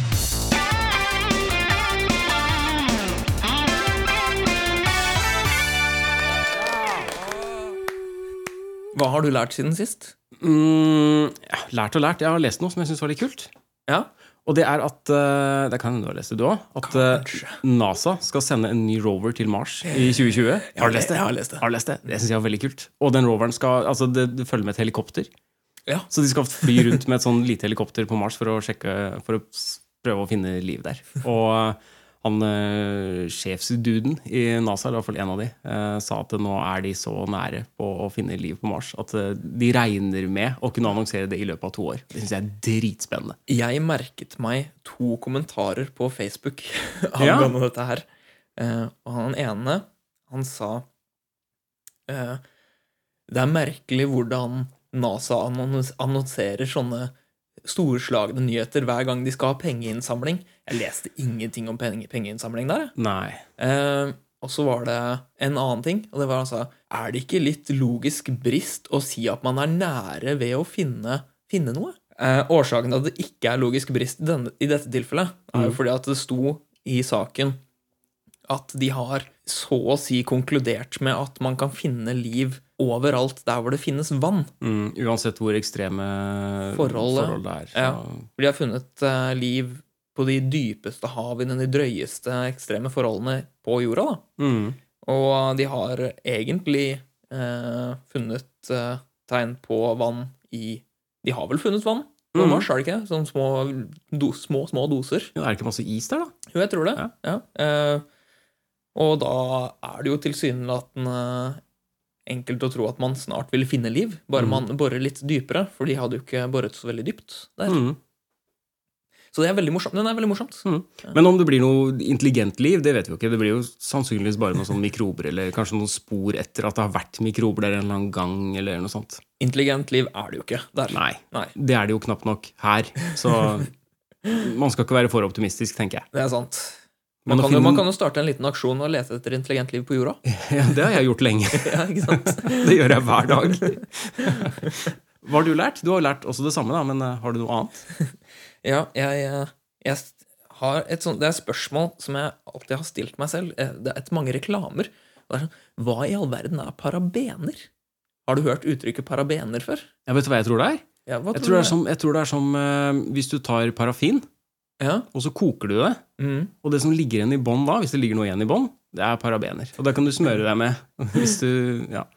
Hva har du lært siden sist? Mm, ja, lært og lært. Jeg har lest noe som jeg syns var litt kult. Ja, Og det er at eh, Det kan hende du har lest det, du òg. At eh, NASA skal sende en ny rover til Mars i 2020. Har du lest det? Jeg har lest det. Har du lest det? Det syns jeg var veldig kult. Og den roveren skal Altså, det, det følger med et helikopter. Ja. Så de skal fly rundt med et sånn lite helikopter på Mars for å sjekke For å s- prøve å finne liv der. Og eh, han eh, sjefsduden i NASA, eller i hvert fall en av de, eh, sa at nå er de så nære på å finne liv på Mars at eh, de regner med å kunne annonsere det i løpet av to år. Det syns jeg er dritspennende. Jeg merket meg to kommentarer på Facebook Ja. angående dette her. Eh, og han ene, han sa eh, Det er merkelig hvordan NASA annons- annonserer sånne storslagne nyheter hver gang de skal ha pengeinnsamling. Jeg leste ingenting om penge, pengeinnsamling der. jeg. Nei. Eh, og så var det en annen ting, og det var altså Er det ikke litt logisk brist å si at man er nære ved å finne, finne noe? Eh, årsaken til at det ikke er logisk brist i, denne, i dette tilfellet, er jo fordi at det sto i saken at de har så å si konkludert med at man kan finne liv overalt der hvor det finnes vann. Mm, uansett hvor ekstreme Forholdet. forhold det er. Så. Ja. For de har funnet eh, liv på de dypeste havene, de drøyeste ekstreme forholdene på jorda. da. Mm. Og de har egentlig eh, funnet eh, tegn på vann i De har vel funnet vann på Mhm. Mars, har de ikke? Sånne små, do, små, små doser. Ja, er det ikke masse is der, da? Jo, jeg tror det. Ja. Ja. Eh, og da er det jo tilsynelatende enkelt å tro at man snart vil finne liv, bare Mhm. man borer litt dypere, for de hadde jo ikke boret så veldig dypt der. Mm. Så det er veldig morsomt. den er veldig morsomt. Men om det blir noe intelligent liv, det vet vi jo ikke. Det blir jo sannsynligvis bare noen sånne mikrober, eller kanskje noen spor etter at det har vært mikrober der en eller annen gang, eller noe sånt. Intelligent liv er det jo ikke. Der. Nei. Nei. Det er det jo knapt nok her. Så man skal ikke være for optimistisk, tenker jeg. Det er sant. Man Men å kan, jo, finne- man kan jo starte en liten aksjon og lete etter intelligent liv på jorda. Ja, det har jeg gjort lenge. Ja, ikke sant? Det gjør jeg hver dag. Hva har du lært? Du har jo lært også det samme, da, men eh, har du noe annet? Ja, jeg, eh, jeg st- har et sånt, Det er et spørsmål som jeg alltid har stilt meg selv. Eh, Det er etter mange reklamer. Det er sånn, Hva i all verden er parabener? Har du hørt uttrykket parabener før? Jeg vet du hva jeg tror det er? Ja, hva Jeg tror du det er som, jeg tror det er som eh, hvis du tar parafin, ja. og så koker du det. mm. Og det som ligger igjen i bånn da, hvis det ligger noe igjen i bånn, det er parabener. Og da kan du smøre deg med hvis du, ja.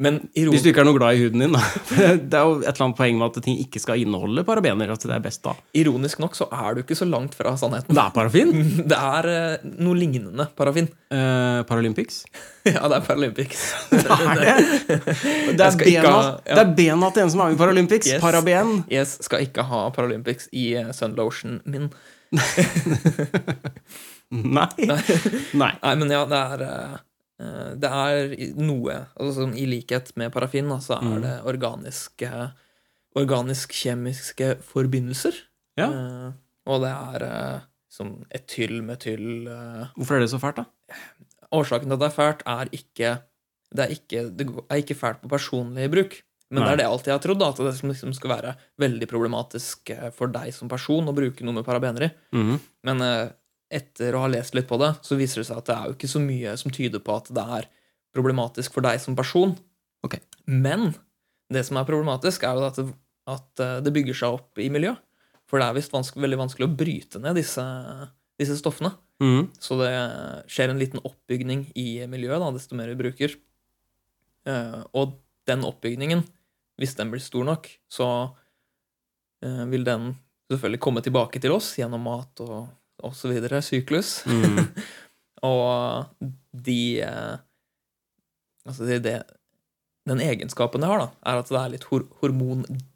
Men iron... hvis du ikke er noe glad i huden din. Da. For Det er jo et eller annet poeng med at ting ikke skal inneholde parabener. At det er best da. ironisk nok så er du ikke så langt fra sannheten. Det er parafin. Det er eh, noe lignende parafin. Eh, Paralympics. Ja, det er Paralympics. Hva er det? Det Jeg er, skal ikke bena, ha- ja. det er bena til en som er med i Paralympics. Yes. Paraben. Yes, skal ikke ha Paralympics i eh, Sunlotion min. Nei. Nei. Nei, men ja, det er eh, eh, Det er i- noe altså, som I likhet med parafin, da, så Mm. er det organiske Organisk-kjemiske forbindelser. Ja. Eh, og det er eh, som etyl, metyl eh, Hvorfor er det så fælt, da? Årsaken til at det er fælt, er ikke Det er ikke, det er ikke fælt på personlig bruk. Men det Nei. er det jeg alltid har trodd, da, at det som liksom skal være veldig problematisk eh, for deg som person å bruke noe med parabener i. Mhm. Men eh, etter å ha lest litt på det, så viser det seg at det er jo ikke så mye som tyder på at det er problematisk for deg som person. Ok. Men det som er problematisk, er jo at det, at eh, det bygger seg opp i miljø. For det er visst vanske- veldig vanskelig å bryte ned disse, disse stoffene. Mhm. Så det skjer en liten oppbygning i miljøet, da, desto mer vi bruker. Eh, og den oppbygningen, hvis den blir stor nok, så eh, vil den selvfølgelig komme tilbake til oss gjennom mat og og så videre, syklus. Mhm. Og de eh, Altså, det, det Den egenskapen det har, da, er at det er litt hor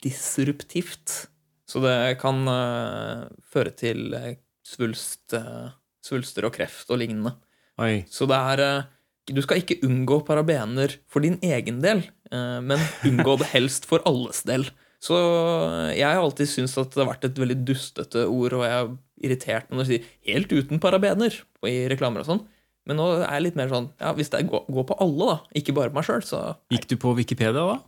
hormondisruptivt. Så det kan eh, føre til eh, svulst, eh, svulster og kreft og lignende. Oi. Så det er eh, Du skal ikke unngå parabener for din egen del, eh, men unngå det helst for alles del. Så eh, jeg har alltid syntes at det har vært et veldig dustete ord, og jeg er irritert når de sier 'helt uten parabener' i reklamer og sånn. Men nå er jeg litt mer sånn ja, Hvis det er- går går på alle, da, ikke bare på meg sjøl, så Gikk du på Wikipedia da?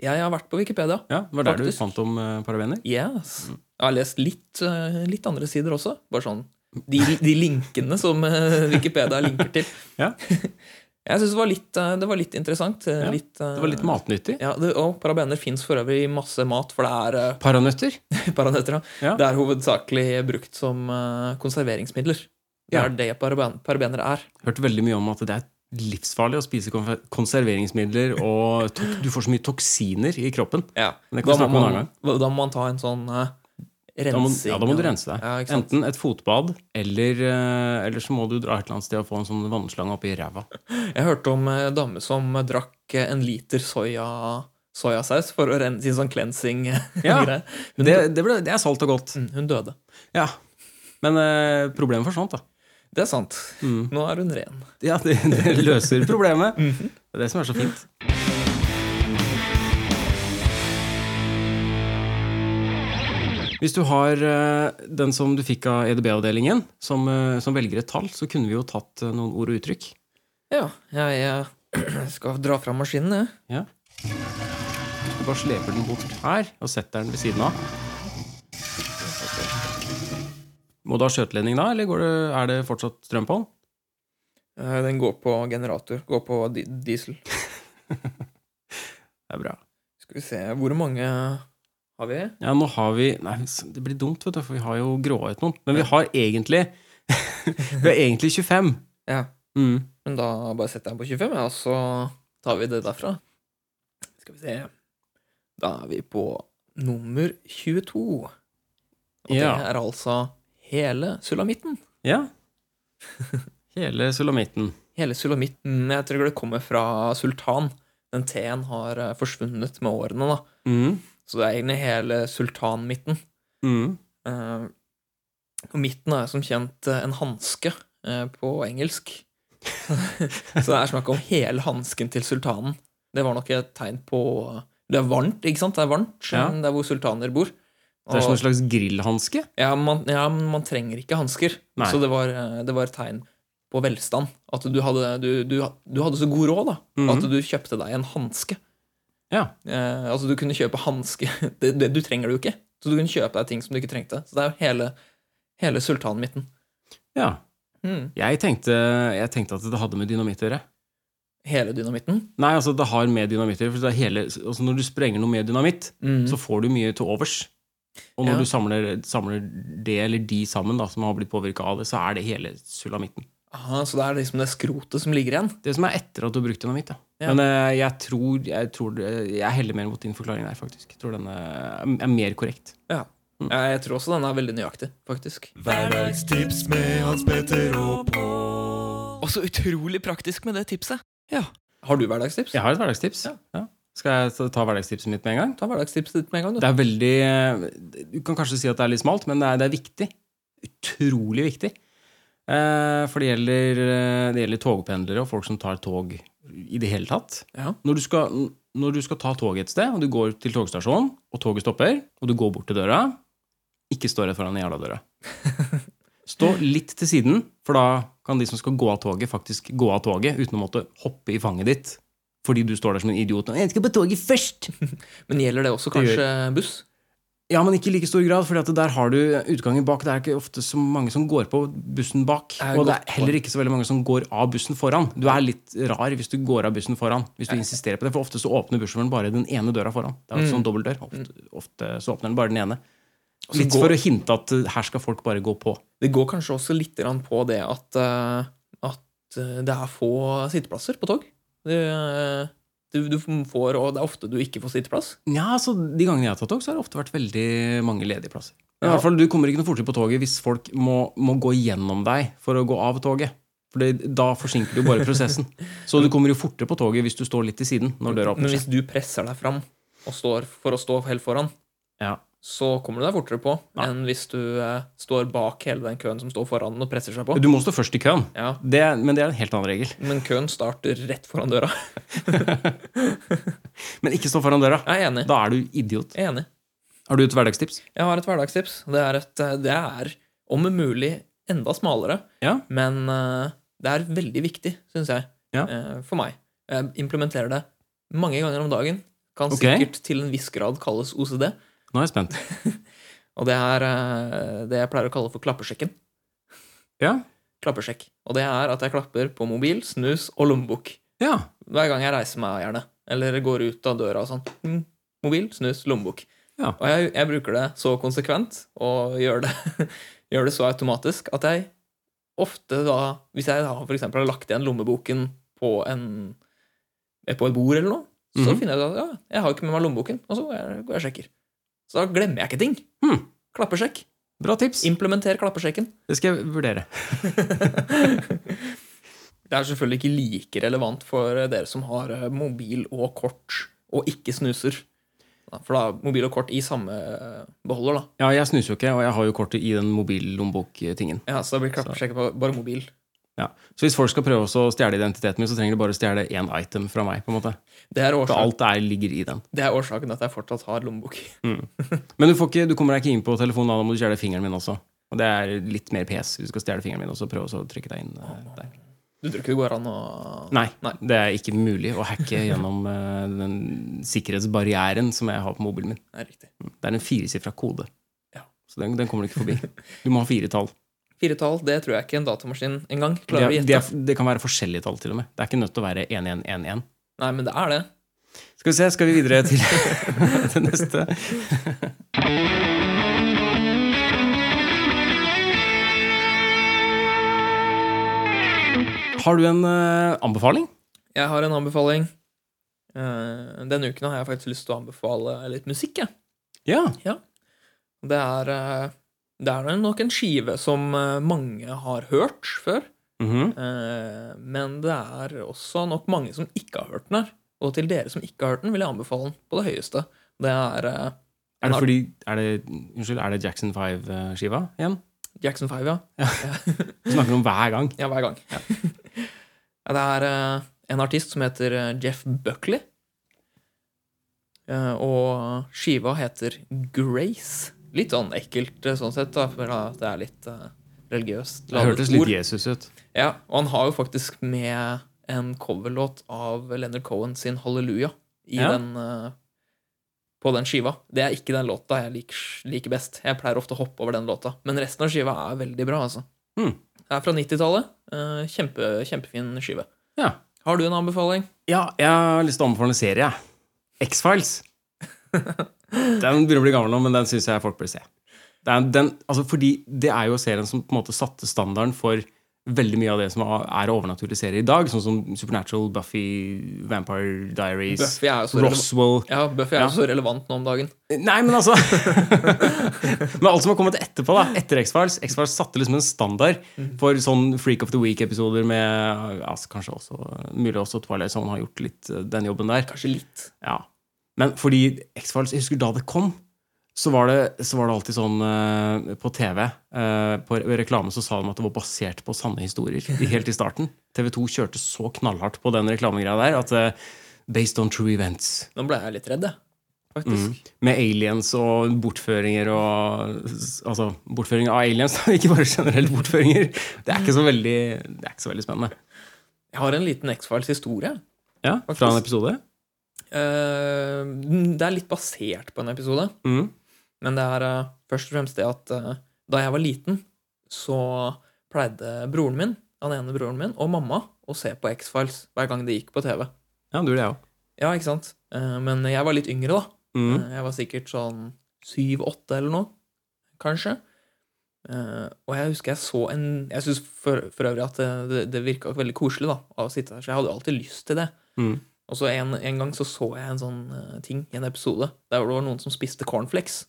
Jeg har vært på Wikipedia. Ja, det var der Faktisk. du fant om eh, parabener? Yes. Jeg har lest litt, eh, litt andre sider også. Bare sånn de, de linkene som eh, Wikipedia linker til. Ja. Jeg syns det, var litt, eh, det var litt interessant. eh, Ja, litt, eh, Det var litt matnyttig. Ja, det, og parabener fins for øvrig i masse mat, for det er Paranøtter? eh, paranøtter. Ja. Ja. Det er hovedsakelig brukt som eh, konserveringsmidler. Det Ja. er det paraben, parabener er. Hørt veldig mye om at det er livsfarlig å spise konfer- konserveringsmidler, og tok- du får så mye toksiner i kroppen. Men det Da, må kan vi snakke om en man, annen da må man ta en sånn eh, Da må, rensing. ja, da må du av- rense deg. Ja, ikke sant? Enten et fotbad, eller, eh, eller så må du dra et eller annet sted og få en sånn vannslange oppi ræva. Jeg hørte om eh, dame som eh, drakk eh, en liter soya, soyasaus for å renne sin sånn cleansing. eh, Ja, greie. hun, Det, det, ble, det er salt og godt. dø- mm, hun døde. Ja. Men eh, problemet forsvant, da. Det er sant. Mm. Nå er hun ren. Ja, det, det løser problemet. Det er det som er så fint. Hvis du har eh, den som du fikk av EDB-avdelingen, som, eh, som velger et tall, så kunne vi jo tatt eh, noen ord og uttrykk. Ja, jeg eh, skal dra fram maskinen, jeg. Ja. Du bare sleper den bort her og setter den ved siden av. Må du ha skjøteledning da, eller går det, er det fortsatt strøm på den? Eh, Den går på generator. Går på di diesel. Det er bra. Skal vi se Hvor mange har vi? Ja, nå har vi Nei, det blir dumt, vet du, for vi har jo gråa ut noen. Men vi har egentlig Vi har egentlig 25. Ja. Mm. Men da bare setter jeg den på 25, ja, og så tar vi det derfra. Skal vi se Da er vi på nummer 22. Og Ja. det er altså hele sulamitten. Ja. Hele sulamitten. Hele sulamitten. Jeg tror det kommer fra sultan. Den T-en har eh, forsvunnet med årene, da. Mm. Så det er egentlig hele sultanmitten. Mm. Eh, Og midten er som kjent eh, en hanske eh, på engelsk. så det er snakk om hele hansken til sultanen. Det var nok et tegn på Det er varmt, ikke sant? Det er varmt Ja. eh, der hvor sultaner bor. Det er sånn Og- som en slags grillhanske. ja, man, ja, men man trenger ikke hansker. Nei. Så det var, eh, det var et tegn på velstand. At du hadde, du, du, du hadde så god råd da, Mhm. at du kjøpte deg en hanske. Ja. Eh, altså, du kunne kjøpe hanske det, det, Du trenger det jo ikke. Så du kunne kjøpe deg ting som du ikke trengte. Så det er jo hele, hele sultanmitten. ja. Mm. Jeg, tenkte, jeg tenkte at det hadde med dynamitt å gjøre. Hele dynamitten. Nei, altså det har med dynamitt å gjøre. For det er hele, altså når du sprenger noe med dynamitt, Mm. så får du mye til overs. Og når Ja. du samler, samler det eller de sammen da, som har blitt påvirka av det, så er det hele sulamitten. Aha, så det er liksom det skrotet som ligger igjen. Det som er etter at du har brukt dynamitt. Da. Ja. Men eh, jeg tror, jeg, tror jeg heller mer mot din forklaring der, faktisk. Jeg tror den eh, er, er mer korrekt. Mm. Ja. Jeg, jeg tror også den er veldig nøyaktig, faktisk. Hverdagstips med Hans Petter og Pål. Og så utrolig praktisk med det tipset. Ja. Har du hverdagstips? Jeg har et hverdagstips. Ja. Skal jeg ta- ta hverdagstipset mitt med en gang? Ta hverdagstipset ditt med en gang, du. Det er veldig eh, Du kan kanskje si at det er litt smalt, men det er, det er viktig. Utrolig viktig. Eh, For det gjelder, eh, det gjelder togpendlere og folk som tar tog i det hele tatt. Ja. Når du, skal, når du skal ta toget et sted, og du går til togstasjonen, og toget stopper, og du går bort til døra Ikke stå rett foran jævla døra. Stå litt til siden, for da kan de som skal gå av toget, faktisk gå av toget uten å måtte hoppe i fanget ditt fordi du står der som en idiot. og, 'Jeg skal på toget først!' Men gjelder det også Det gjør- kanskje buss? Ja, men ikke i like stor grad, for der har du utgangen bak. Det er ikke ofte så mange som går på bussen bak. er et Og det godt er heller ikke så veldig mange som går av bussen foran. Du er litt rar hvis du går av bussen foran. Hvis du insisterer på det, For ofte så åpner bussjåføren bare den ene døra foran. Det er jo sånn dobbeltdør. Ofte, ofte så åpner den bare den ene. Mm. Og så Litt går- for å hinte at uh, her skal folk bare gå på. Det går kanskje også litt grann på det at, eh, at eh, det er få sitteplasser på tog. Det, eh, du, du får, og det er ofte du ikke får sitteplass. Nja, så De gangene jeg har tatt tog, så har det ofte vært veldig mange ledige plasser. Men i Ja. hvert fall, Du kommer ikke noe fortere på toget hvis folk må, må gå gjennom deg for å gå av toget. Fordi da forsinker du bare prosessen. Så du kommer jo fortere på toget hvis du står litt til siden. når døra Men åpner hvis seg. du presser deg fram og står for å stå helt foran, Ja. så kommer du deg fortere på enn hvis du eh, står bak hele den køen som står foran og presser seg på. Du må stå først i køen, Ja, det, men det er en helt annen regel. Men køen starter rett foran døra. Men ikke stå foran døra. Jeg er enig. Da er du idiot. Jeg er enig. Har du et hverdagstips? Jeg har et hverdagstips. Det er, et, eh, det er om mulig enda smalere. Ja. Men eh, det er veldig viktig, syns jeg, Ja. eh, for meg. Jeg implementerer det mange ganger om dagen. Kan Ok. sikkert til en viss grad kalles OCD. Nå er jeg spent. Og det er eh, det jeg pleier å kalle for klappesjekken. Ja. Klappesjekk. Og det er at jeg klapper på mobil, snus og lommebok. ja. Hver gang jeg reiser meg, gjerne. Eller går ut av døra og sånn. Mm, mobil, snus, lommebok. Ja. Og jeg, jeg bruker det så konsekvent, og gjør det, gjør det så automatisk, at jeg ofte da Hvis jeg da for eksempel har lagt igjen lommeboken på en eh, på et bord eller noe, så Mhm. finner jeg ut at ja, jeg har ikke med meg lommeboken, og så går jeg, går jeg og sjekker. Så da glemmer jeg ikke ting. Hmm. Klappesjekk. Bra tips. Implementer klappesjekken. Det skal jeg vurdere. Det er selvfølgelig ikke like relevant for dere som har eh, mobil og kort og ikke snuser. Da- For da er mobil og kort i samme eh, beholder, da. Ja, Jeg snuser jo ikke, og jeg har jo kortet i den mobillomboktingen. Ja, Så da blir klappesjekket på bare mobil. Ja. Så hvis folk skal prøve også å stjele identiteten min, så trenger de bare å stjele én item fra meg. på en måte. Det er, For årsaken, alt Mm. er, ligger i den. det er årsaken at jeg fortsatt har lommebok. Men du, får ikke, du kommer deg ikke inn på telefonen, da, da må du stjele fingeren min også. Og det er litt mer pes hvis du skal stjele fingeren min også. Prøve også å trykke deg inn eh, der. Du tror ikke det går an å Nei, Nei. det er ikke mulig å hacke gjennom eh, den sikkerhetsbarrieren som jeg har på mobilen min. Nei, riktig. Det er en firesifra kode. Ja. Så den, den kommer du ikke forbi. Du må ha fire tall. Fire tall, det tror jeg ikke en datamaskin engang Det, klarer å det, gjette. det kan være forskjellige tall, til og med. Det er ikke nødt til å være 1111. Nei, men det er det. Skal vi se, skal vi videre til, til neste? Har du en eh, anbefaling? Jeg har en anbefaling. Eh, Denne uken har jeg faktisk lyst til å anbefale litt musikk, jeg. Ja. Det er, eh, det er nok en skive som eh, mange har hørt før, Mhm. eh, men det er også nok mange som ikke har hørt den her. Og til dere som ikke har hørt den, vil jeg anbefale den på det høyeste. Det er eh, Er det fordi er det, Unnskyld, er det Jackson 5-skiva eh, igjen? Jackson 5, ja. Vi snakker om hver gang. Ja, hver gang. Ja, det er eh, en artist som heter eh, Jeff Buckley. Eh, og skiva heter Grace. Litt sånn ekkelt eh, sånn sett, da, for da, det er litt eh, religiøst Det hørtes litt Jesus ut. Ja, og han har jo faktisk med en coverlåt av Leonard Cohen sin Halleluja i Ja. den, eh, på den skiva. Det er ikke den låta jeg liker, liker best. Jeg pleier ofte å hoppe over den låta. Men resten av skiva er veldig bra, altså. Hmm. Det er fra 90-tallet. Eh, Kjempe, kjempefin skive. Ja. Har du en anbefaling? ja, jeg har lyst til å anbefale en serie. jeg. X-Files. Den begynner å bli gammel nå, men den syns jeg folk bør se. Det er, den, altså fordi det er jo serien som på en måte satte standarden for veldig mye av det som er overnaturlige serier i dag, sånn som Supernatural, Buffy, Vampire Diaries, Buffy er jo så, rele Roswell ja, Buffy er Ja. jo så relevant nå om dagen. Nei, men altså Men alt som har kommet etterpå, da. Etter X-Files. X-Files satte liksom en standard Mhm. for sånn Freak of the Week-episoder med ja, altså, Kanskje også mulig også Twilight Zone har gjort litt eh, den jobben der. Kanskje litt. Ja. Men fordi X-Files Jeg husker da det kom, så var det, så var det alltid sånn eh, på TV eh, På re- reklame så sa de at det var basert på sanne historier i- helt i starten. TV2 kjørte så knallhardt på den reklamegreia der at eh, Based on true events. Nå ble jeg litt redd, jeg. Faktisk. Med aliens og bortføringer og Altså, bortføring av aliens, da, ikke bare generelle bortføringer. Det er ikke så veldig, det er ikke så veldig spennende. Jeg har en liten X-Files-historie. Ja, Fra en episode? Eh, det er litt basert på en episode. Mm. Men det er eh, først og fremst det at eh, da jeg var liten, så pleide broren min, han ene broren min, og mamma å se på X-Files hver gang det gikk på TV. Ja, du og jeg òg. Ja, ikke sant? Eh, Men jeg var litt yngre, da. Mm. Eh, Jeg var sikkert sånn syv-åtte eller noe, kanskje. Eh, og jeg husker jeg så en Jeg syns for, for øvrig at det, det, det virka veldig koselig da, av å sitte der, så jeg hadde jo alltid lyst til det. Mm. Og så en, en gang så, så jeg en sånn eh, ting i en episode der det var noen som spiste cornflakes,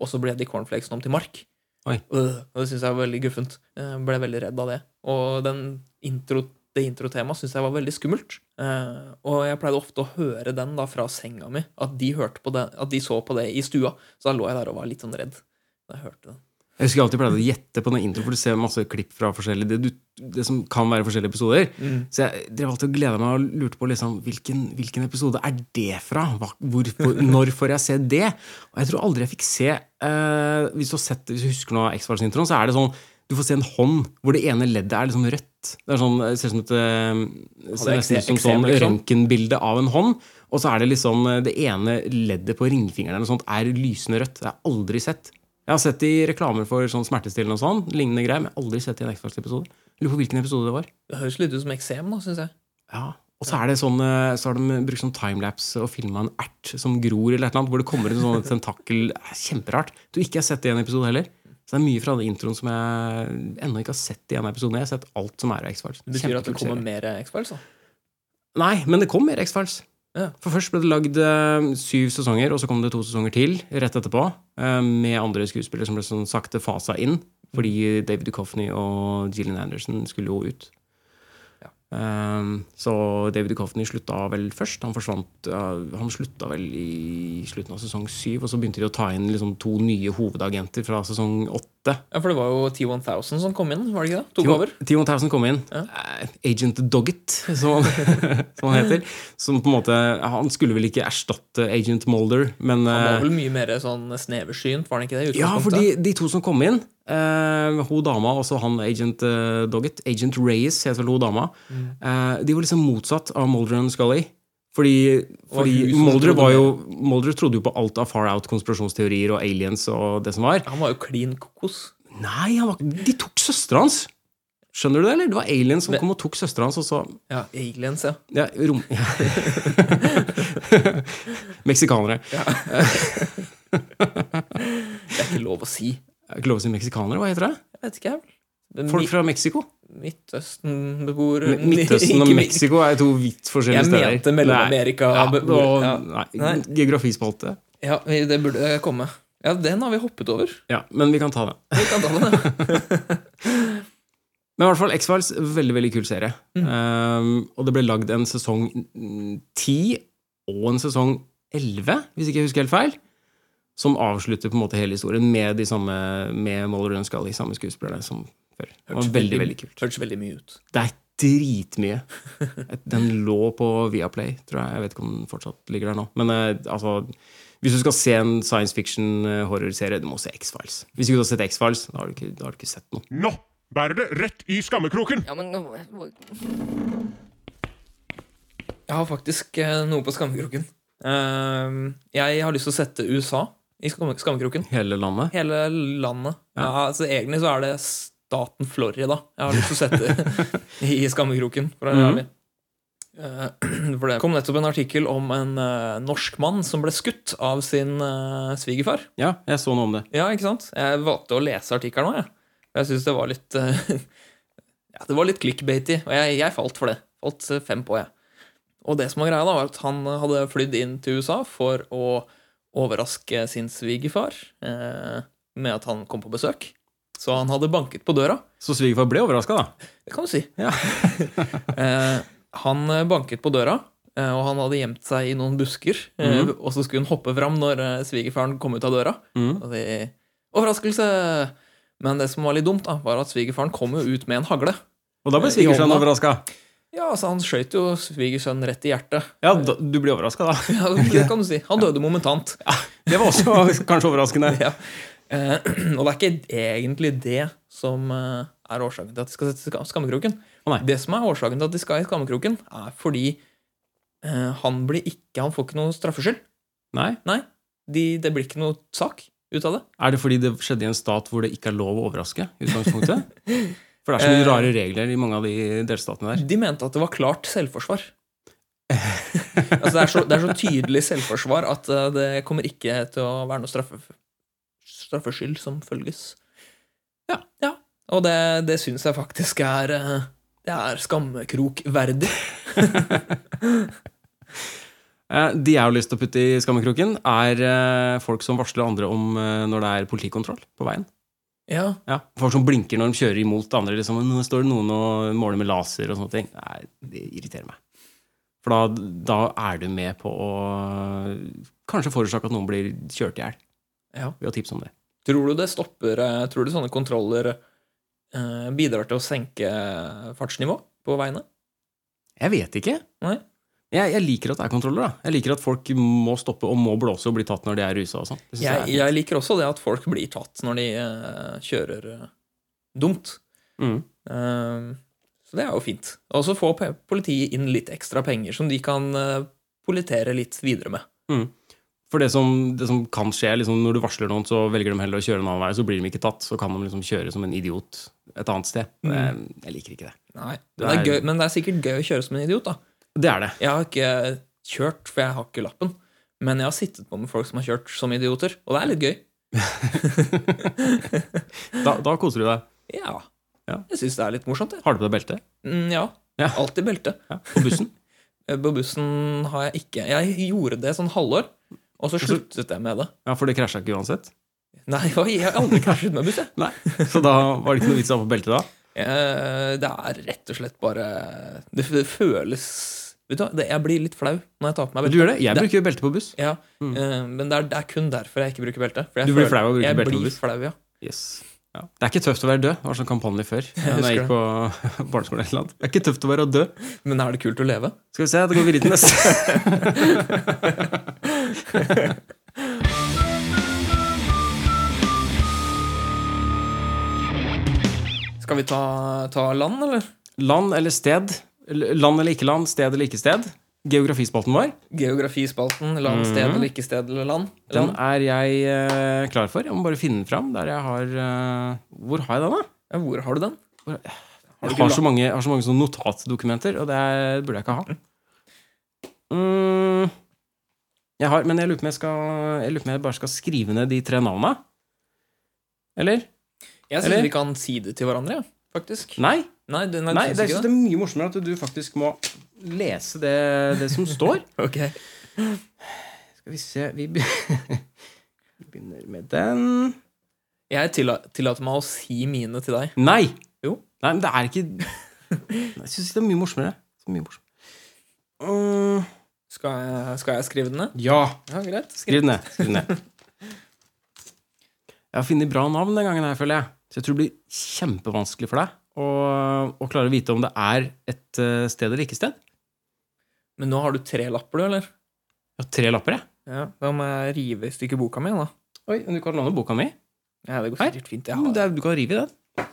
og så ble de cornflakesene om til mark. Oi. Øh, og det syns jeg var veldig guffent. Jeg ble veldig redd av det. Og den intro, det introtemaet syns jeg var veldig skummelt. Eh, og jeg pleide ofte å høre den da fra senga mi, at de, hørte på det, at de så på det i stua. Så da lå jeg der og var litt sånn redd. Da jeg hørte den. Jeg husker jeg alltid pleide å gjette på den intro, for du ser masse klipp fra forskjellige det, du, det som kan være forskjellige episoder. Mm. Så jeg drev alltid og gleda meg og lurte på liksom, hvilken, hvilken episode er det fra? Hva, hvor, hvor, når får jeg se det? Og jeg tror aldri jeg fikk se eh, hvis, du har sett, hvis du husker noe av X-Files-introen, så er det sånn du får se en hånd hvor det ene leddet er liksom rødt. Det er sånn, det ser ut som et eh, ser det eksem- nesten ut som sånn eksem, liksom? røntgenbilde av en hånd. Og så er det liksom eh, det ene leddet på ringfingeren eller noe sånt, er lysende rødt. Det har jeg aldri sett. Jeg har sett det i reklamer for sånn smertestillende og sånn, lignende greier, men jeg har aldri sett det i en X-Files-episode. Jeg Lurer på hvilken episode det var. Det høres litt ut som eksem, da, syns jeg. Ja. Og så, er det sånn, eh, så har de brukt sånn timelapse og filma en ert som gror, eller et eller annet, hvor det kommer en sånn tentakel. Det er Kjemperart. Du ikke har sett det i en episode heller. Så det er mye fra den introen som jeg ennå ikke har sett i en episode. Jeg har sett alt som er av X-Files. Det betyr at det Kjempekul kommer serie. mer X-Files, da. Nei, men det kom mer X-Files. Ja. For først ble det lagd eh, syv sesonger, og så kom det to sesonger til rett etterpå. eh, Med andre skuespillere som ble sånn sakte fasa inn. Fordi David Duchovny og Gillian Anderson skulle jo ut. Um, så David Duchovny slutta vel først. Han forsvant uh, Han slutta vel i slutten av sesong syv, og så begynte de å ta inn liksom, to nye hovedagenter fra sesong åtte. Ja, For det var jo T1000 som kom inn, var det ikke det? Tok Timo- over. Timo Tausen kom inn. Ja. Eh, Agent Doggett, som, han- som han heter. Som på en måte Han skulle vel ikke erstatte Agent Molder, men Han var eh, vel mye mer sånn sneversynt, var han ikke det? i ja, utgangspunktet? fordi de to som kom inn, eh, hun dama og så han agent eh, Doggett, agent Reyes het vel hun dama, Mm. eh, de var liksom motsatt av Mulder and Scully. Fordi, var hun fordi som Mulder, trodde var mer. jo, Mulder trodde jo på alt av far out, konspirasjonsteorier og aliens og det som var. Han var jo klin kokos. Nei, han var, de tok søstera hans! Skjønner du det, eller? Det var aliens som Men- kom og tok søstera hans, og så Ja, Aliens, ja. ja, rom... Meksikanere. Det er ikke lov å si. Det er Ikke lov å si meksikanere, hva heter det? Jeg vet ikke, jeg vel. Men Folk Mi- fra Mexico? Midtøsten-beboere Mi- Midtøsten og Ikke Mi- Mexico er to vidt forskjellige Jeg steder. mente Mellom-Amerika. Nei, ja, beboere. og- nei, Nei. Geografispalte. Ja, ja, det burde komme. Ja, den har vi hoppet over. Ja, men vi kan ta den. Vi kan ta den, ja. Men i hvert fall X-Files, veldig veldig kul serie. Mm. Um, og det ble lagd en sesong mm, 10 og en sesong 11, hvis ikke jeg husker helt feil. Som avslutter på en måte hele historien med de samme Med Mulder og Scully, samme skuespillerne som før. Det var veldig, veldig kult. Hørtes veldig mye ut. Det er dritmye. Den lå på Viaplay, tror jeg. Jeg vet ikke om den fortsatt ligger der nå. Men eh, altså hvis du skal se en science fiction eh, horrorserie, du må se X-Files. Hvis ikke du har sett X-Files, da har du ikke, da har du ikke sett noe. Nå bærer det rett i skammekroken! Ja, men nå- Jeg har faktisk eh, noe på skammekroken. Ehm, jeg har lyst til å sette USA i skamme- skammekroken. Hele landet. Hele landet. Ja. altså, egentlig så er det staten Florida jeg har lyst til å sette i skammekroken. For, å være ærlig. Eh, for det kom nettopp en artikkel om en eh, norsk mann som ble skutt av sin eh, svigerfar. Ja, jeg så noe om det. Ja, ikke sant? Jeg valgte å lese artikkelen òg, jeg. For Jeg syns det var litt eh, Ja, det var litt clickbaity, og jeg, jeg falt for det. Falt eh, fem på, jeg. Og det som var greia, da, var at han hadde flydd inn til USA for å overraske sin svigerfar eh, med at han kom på besøk. Så han hadde banket på døra. Så svigerfar ble overraska, da. Det kan du si. Ja. Eh, han eh, banket på døra, eh, og han hadde gjemt seg i noen busker. eh, Og så skulle hun hoppe fram når eh, svigerfaren kom ut av døra. Mhm. Og de, Overraskelse! Men det som var litt dumt, da, var at svigerfaren kom jo ut med en hagle. Og da ble I svigersønnen hånda. overraska. Ja, altså Han skjøt jo svigersønnen rett i hjertet. Ja, da, du blir overraska, da. Ja, det kan du si. Han døde momentant. Det var også kanskje overraskende. Ja. Eh, og det er ikke egentlig det som eh, er årsaken til at de skal sette skam- skammekroken. Å, nei. det som er årsaken til at de skal i skammekroken, er fordi eh, han blir ikke Han får ikke noe straffskyld. Nei? Nei, de, det blir ikke noe sak ut av det. Er det fordi det skjedde i en stat hvor det ikke er lov å overraske? i utgangspunktet? For det er så mye Eh. rare regler i mange av de delstatene der. De mente at det var klart selvforsvar. altså det, er så, det er så tydelig selvforsvar at eh, det kommer ikke til å være noe straffe, straffskyld som følges. Ja. ja. Og det, det syns jeg faktisk er eh, Det er skammekrokverdig. Eh, De jeg har lyst til å putte i skammekroken, er eh, folk som varsler andre om eh, når det er politikontroll på veien. Ja. Ja, Folk som blinker når de kjører imot andre. liksom, nå står det noen og måler med laser og sånne ting. Nei, Det irriterer meg. For da, da er du med på å kanskje forårsake at noen blir kjørt i hjel. Ja. Ved å tipse om det. Tror du det stopper eh, Tror du sånne kontroller eh, bidrar til å senke fartsnivå på veiene? Jeg vet ikke. Nei? Jeg, jeg liker at det er kontroller. da. Jeg liker at folk må stoppe og må blåse og bli tatt når de er rusa. og sånn. Det synes Jeg, jeg er jeg liker også det at folk blir tatt når de eh, kjører eh, dumt. fint. Mm. Ehm, Så det er jo fint. Og så får pe- politiet inn litt ekstra penger som de kan eh, politere litt videre med. For det som, det som kan skje, liksom, når du varsler noen, så velger de heller å kjøre en annen vei, så blir de ikke tatt. Så kan de liksom kjøre som en idiot et annet sted. Jeg, jeg liker ikke det. Nei, det er Det er- gøy, Men det er sikkert gøy å kjøre som en idiot, da. Det er det. Jeg har ikke kjørt, for jeg har ikke lappen. Men jeg har sittet på med folk som har kjørt som idioter, og det er litt gøy. Da, da koser du deg. Ja. Ja. Jeg syns det er litt morsomt, jeg. Har du på deg belte? Mm, ja. Ja. Alltid belte. Ja, På bussen? Eh, På bussen har jeg ikke. Jeg gjorde det sånn halvår, og så sluttet jeg med det. Ja, For det krasja ikke uansett? Nei, jeg har aldri krasjet med buss, jeg. Nei. Så da var det ikke noe vits i å ha på belte da? Eh, Det er rett og slett bare Det, f- det føles Vet du hva, det, jeg blir litt flau når jeg tar på meg Du belte. gjør det? Jeg bruker jo belte på buss. Ja, eh, men det er, det er kun derfor jeg ikke bruker belte. For jeg Du blir føler- flau av å bruke jeg belte på blir buss? Flau, ja. Yes. Ja. Det er ikke tøft å være død. Det var sånn kampanje før. husker Når jeg gikk på barneskolen eller noe. Det er ikke tøft å være død. Men er det kult å leve? Skal vi se, da går vi videre til neste. Skal vi ta, ta land, eller? Land eller sted? L- Land eller ikke land? Sted eller ikke sted? Geografispalten vår. Geografispalten. Land, sted eller ikke sted eller land? Mm. Den land. er jeg eh, klar for. Jeg må bare finne den fram. Der jeg har eh, Hvor har jeg den, da? Ja, hvor har du den? Jeg ikke har la- så mange, jeg har så mange sånne notatdokumenter, og det er- burde jeg ikke ha. Mm, jeg har, men jeg lurer på om jeg, skal, jeg lurer på om jeg bare skal skrive ned de tre navna. Eller? Jeg Eller? syns vi kan si det til hverandre, ja, faktisk. Nei, Nei, du, nei, nei du det, syns er, ikke det det? er mye morsommere at du faktisk må lese det, det som står. Ok. Skal vi se Vi be- vi begynner med den. Jeg tilla- tillater meg å si mine til deg. Nei! Jo. Nei, men det er ikke Nei, Jeg syns det er mye morsommere. Så mye morsommere. Mm, Skal jeg, skal jeg skrive den ned? ja. Ja, greit. Skriv den ned. Skriv den ned. Jeg har funnet bra navn den gangen her, føler jeg. Så jeg tror det blir kjempevanskelig for deg å, å klare å vite om det er et eh, sted eller ikke sted. Men nå har du tre lapper, du, eller? Jeg har tre lapper, jeg. Ja, Da må jeg rive i stykker boka mi, da. Oi, men du kan låne boka mi. Ja, det går Her? Mm, sikkert fint. Jeg Ja, men har det er, du kan rive i den.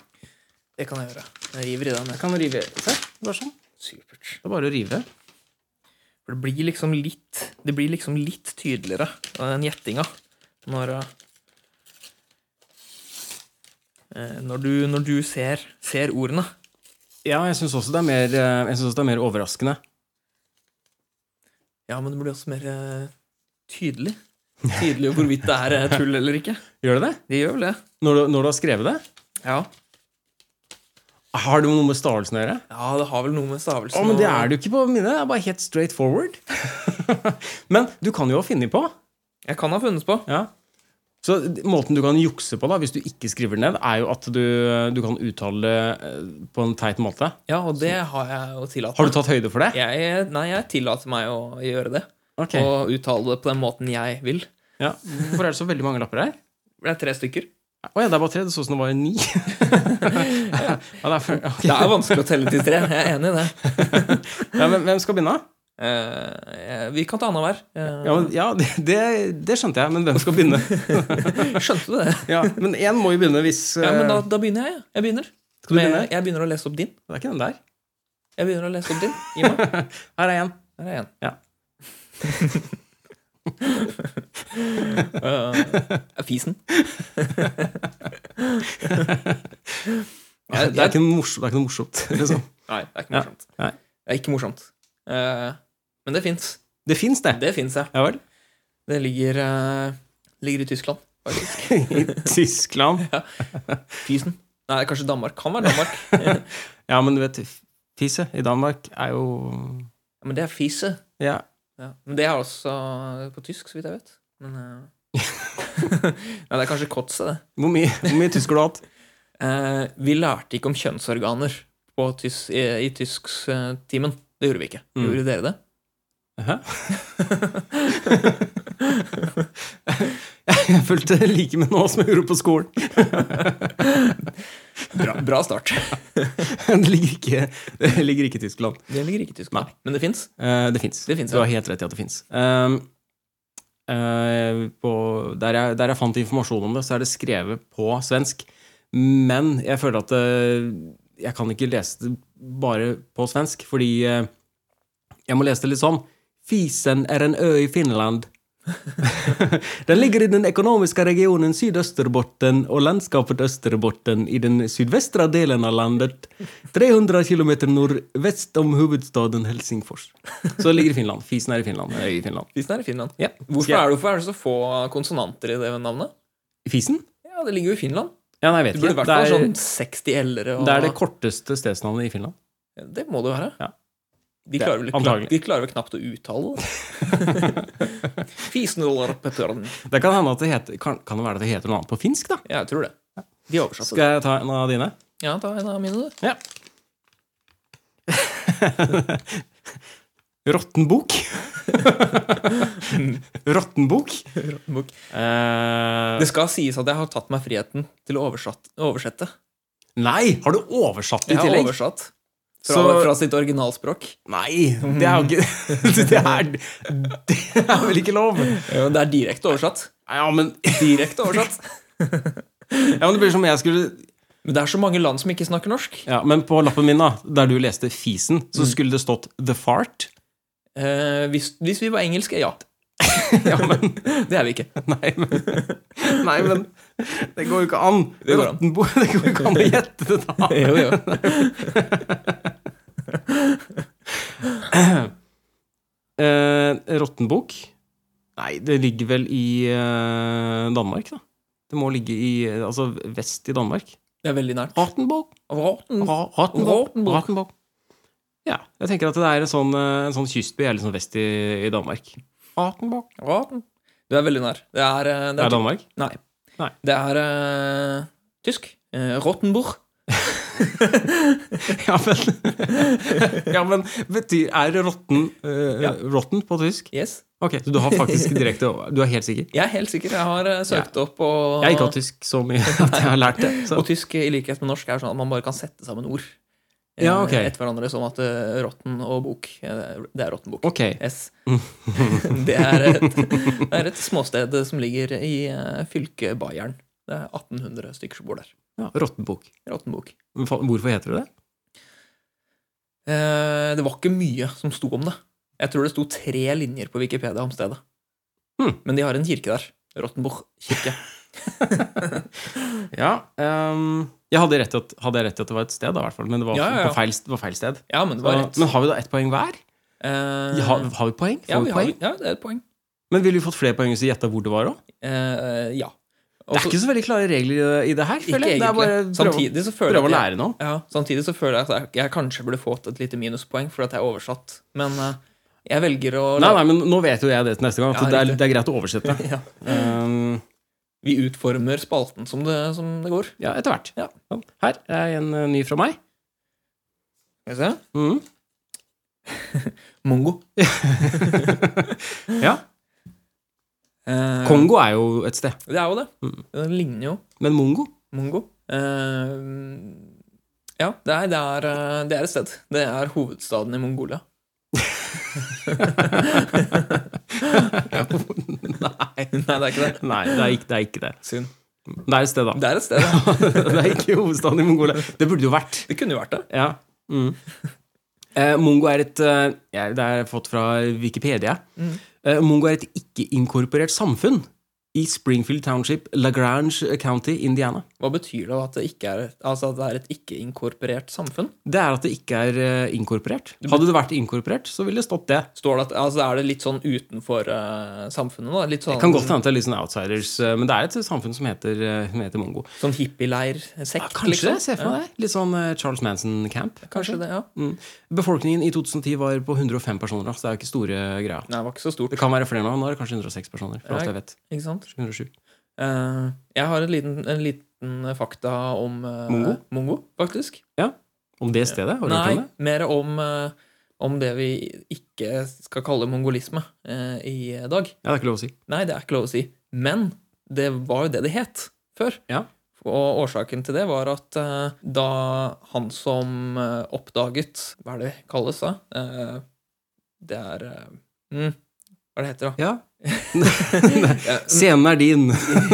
Det kan jeg gjøre. Jeg river i den. Jeg jeg. kan rive Se, bare sånn. Supert. Det er bare å rive. For det blir liksom litt Det blir liksom litt tydeligere eh, enn gjettinga når eh, når du, når du ser, ser ordene. Ja, jeg syns også, det er mer, eh, jeg synes også det er mer overraskende. Ja, men det blir også mer eh, tydelig. Tydelig hvorvidt det er eh, tull eller ikke. Gjør det det? Det gjør vel det. Når du, når du har skrevet det? Ja, Har det noe med stavelsen å gjøre? ja det har vel noe med stavelsen Å, men det og- er det jo ikke på mine. Det er bare helt straight forward. men du kan jo ha funnet på. Jeg kan ha funnet på. Ja. Så d- måten du kan jukse på da, hvis du ikke skriver det ned, er jo at du, du kan uttale det eh, på en teit måte. Ja, og det har jeg jo tillatt Har du tatt høyde for det? Jeg, nei, jeg tillater meg å gjøre det. Ok. Og uttale det på den måten jeg vil. Ja. Hvorfor er det så veldig mange lapper her? Det er tre stykker. Å ja, det er bare tre. Det så ut som det var ni. ja, det er for, ok. Det er vanskelig å telle til tre. Jeg er enig i det. ja, men, hvem skal begynne? Eh, vi kan ta annenhver. Uh, Ja, men, ja det, det- det skjønte jeg, men hvem skal begynne? Skjønte du det? ja, men én må jo begynne hvis Ja, men da, eh, da begynner jeg. ja. Jeg begynner. Skal du Med- begynne? Jeg begynner å lese opp din. Det er ikke den der. Jeg begynner å lese opp din. Gi meg. Her er én. Her er en. Ja. Eh, fisen. Det Ja, er, det er- ikke noe morsomt, det er ikke noe morsomt liksom. Nei, det er ikke Ja. morsomt. Nei. Det er ikke morsomt. Eh, men det fins. Det fins, det. Det fins, ja. Ja vel. Det ligger, eh, ligger i Tyskland. faktisk. I Tyskland. Fisen. Nei, kanskje Danmark. Kan være Danmark. Ja, Ja, men du vet, fise i Danmark er jo men det er fise. Ja. Ja. Men det er også eh, på tysk, så vidt jeg vet. Men eh, Nei, det er kanskje kotse, det. Hvor mye, hvor mye tysk har du hatt? Eh, vi lærte ikke om kjønnsorganer på tys i, i tysktimen. det gjorde vi ikke. Mm. Gjorde dere det? Hæ? Jeg følte det like med nå som jeg gjorde på skolen. Bra, bra start. Det ligger ikke, det ligger ikke i Tyskland. Det ligger ikke i Tyskland. Men det fins. Eh, det fins. Det finnes, Du har ja. helt rett i at det fins. der, jeg- der jeg fant informasjon om det, så er det skrevet på svensk. Men jeg føler at eh, jeg kan ikke lese det bare på svensk, fordi eh, jeg må lese det litt sånn. Fisen er en ø i Finland. den ligger i den økonomiske regionen Sydøsterbotten og landskapet Østerbotten i den sydvestre delen av landet, 300 km nordvest om hovedstaden Helsingfors. Så det ligger i Finland. Fisen er i Finland. Øy i Finland. Fisen er i Finland. Ja. Hvorfor, Skal jeg- er det, hvorfor er det så få konsonanter i det navnet? Fisen? Ja, Det ligger jo i Finland. Ja, nei, jeg Det vet ikke. burde i hvert fall Det er- sånn 60 l-ere. Og... det er det korteste stedsnavnet i Finland. Det må det jo være. Ja. De klarer, vel, Antagelig. knapt- de klarer vel knapt å uttale det. Fisnollarpetøren. Det kan hende at det heter Kan, kan det være at det heter noe annet på finsk, da? Ja, jeg tror det. De oversatte det. Skal jeg ta en av dine? Ja, ta en av mine, du. Ja. Råttenbok. Råttenbok. Bok. Eh, Det skal sies at jeg har tatt meg friheten til å oversatt, oversette. nei! Har du oversatt det Jeg i har tillegg? oversatt fra, Så- fra sitt originalspråk. Nei! Det er jo ikke det er, det er vel ikke lov? Ja, Det er direkte oversatt. Ja, men, Direkte oversatt. ja, men det blir som om jeg skulle Men det er så mange land som ikke snakker norsk. Ja, Men på lappen min, da, der du leste 'fisen', så skulle det stått 'the fart'. Eh, hvis, hvis vi var engelske, ja. Ja, men Det er vi ikke. Nei, men, nei, men Det går jo ikke an! Det går an. Råttenbo- det går jo ikke an å gjette det, da! Jo, jo. Eh, Råttenbok? Nei, det ligger vel i eh, Danmark, da. Det må ligge i eh, Altså vest i Danmark. Det er veldig nært. Råttenbok? Rotten. Ra- Råttenbok? Råttenbok. Råttenbok. Ja. Jeg tenker at det er en sånn, eh, en sånn kystby eller sånn vest i, i Danmark. Råttenbok. Rotten. Du er veldig nær. Det er, eh, Det det er er, Eh, Danmark? nei. Nei. Det er eh, tysk. Uh, Rottenburg. ja, men, ja, men betyr, Er rotten eh, Ja. rotten på tysk? Yes. Ok, Så du har faktisk direkte Du er helt sikker? Jeg er helt sikker. Jeg har eh, søkt opp og Jeg ikke har tysk så mye at jeg har lært det. Så. Og tysk, i likhet med norsk, er sånn at man bare kan sette sammen ord eh, Ja, ok. etter hverandre. Sånn at eh, rotten og bok, eh, det er rotten bok. Ok. S. Det er et, det er et småsted som ligger i eh, fylket Bayern. Det er 1800 stykker som bor der. Ja, Rottenbok. Rottenbok. Men fa- Hvorfor heter det det? Eh, Det var ikke mye som sto om det. Jeg tror det sto tre linjer på Wikipedia om stedet. Hmm. Men de har en kirke der. Rottenbuch kirke. Ja, ehm, jeg hadde rett, i at, hadde jeg rett i at det var et sted, da, i hvert fall. Men det var Ja, ja, ja. På, feil, det var feil sted. Ja, men det Så, var rett. men har vi da ett poeng hver? Eh, Har, har vi poeng? Får ja, vi vi har, poeng? ja, det er et poeng. Men ville vi fått flere poeng hvis vi gjetta hvor det var òg? Eh, ja. Det er ikke så veldig klare regler i det- i det her. Ikke føler jeg. Det er bare egentlig. prøve, Samtidig så føler jeg prøve å at jeg- lære noe. Ja, samtidig så føler jeg at jeg, jeg kanskje burde fått et lite minuspoeng fordi at jeg er oversatt. Men eh, jeg velger å Nei, nei, men nå vet jo jeg det til neste gang. At Ja, det, er, riktig. det er greit å oversette. Ja. Ehm, Vi utformer spalten som det, som det går. ja, etter hvert. Ja. Sånn. Her er en eh, ny fra meg. Skal vi se. Mhm. Mongo. Ja. Eh, Kongo er jo et sted. Det er jo det. Mm. Det ligner jo Men mongo? mongo. Eh, ja, det er, det, er, eh, det er et sted. Det er hovedstaden i Mongolia. Nei. Nei, det er ikke det. Nei, det er ikke det. Er ikke det. Synd. det er et sted, da. Det er et sted, ja. det er ikke hovedstaden i Mongolia. Det burde det jo vært. Det kunne jo vært det. Ja. Mm. Eh, Mongo er et eh, ja, Det er fått fra Wikipedia. Mm. Eh, Mongo er et ikke-inkorporert samfunn i Springfield Township, LaGrange County, Indiana. Hva betyr det at det ikke er, altså at det er et ikke-inkorporert samfunn? Det er at det ikke er eh, inkorporert. Hadde det vært inkorporert, så ville det stått det. Står det at, altså Er det litt sånn utenfor eh, samfunnet? da? Litt sånn, Kan godt hende at det er litt sånn outsiders, eh, men det er et samfunn som heter, eh, som heter Mongo. sånn hippieleir-sekt? Ja, kanskje det, ser jeg for meg det. Litt sånn eh, Charles Manson-camp. Ja, kanskje det, ja. Mm. Befolkningen i 2010 var på 105 personer, da, så det er jo ikke store greia. Nei, det var ikke så stort. Det kan være flere nå. Nå er det kanskje 106 personer. For alt jeg vet. Ikke sant? 107. Eh, jeg har en liten, en liten fakta om eh, Mongo? faktisk. Om det stedet? Har du hørt Nei, om det? mer om, eh, om det vi ikke skal kalle mongolisme eh, i dag. Ja, det er ikke lov å si. Nei, det er ikke lov å si. Men det var jo det det het før. Ja. Og årsaken til det var at eh, da han som eh, oppdaget Hva er det kalles, da? Eh, det er eh, mm, Hva er det heter, da? Ja. Scenen er din!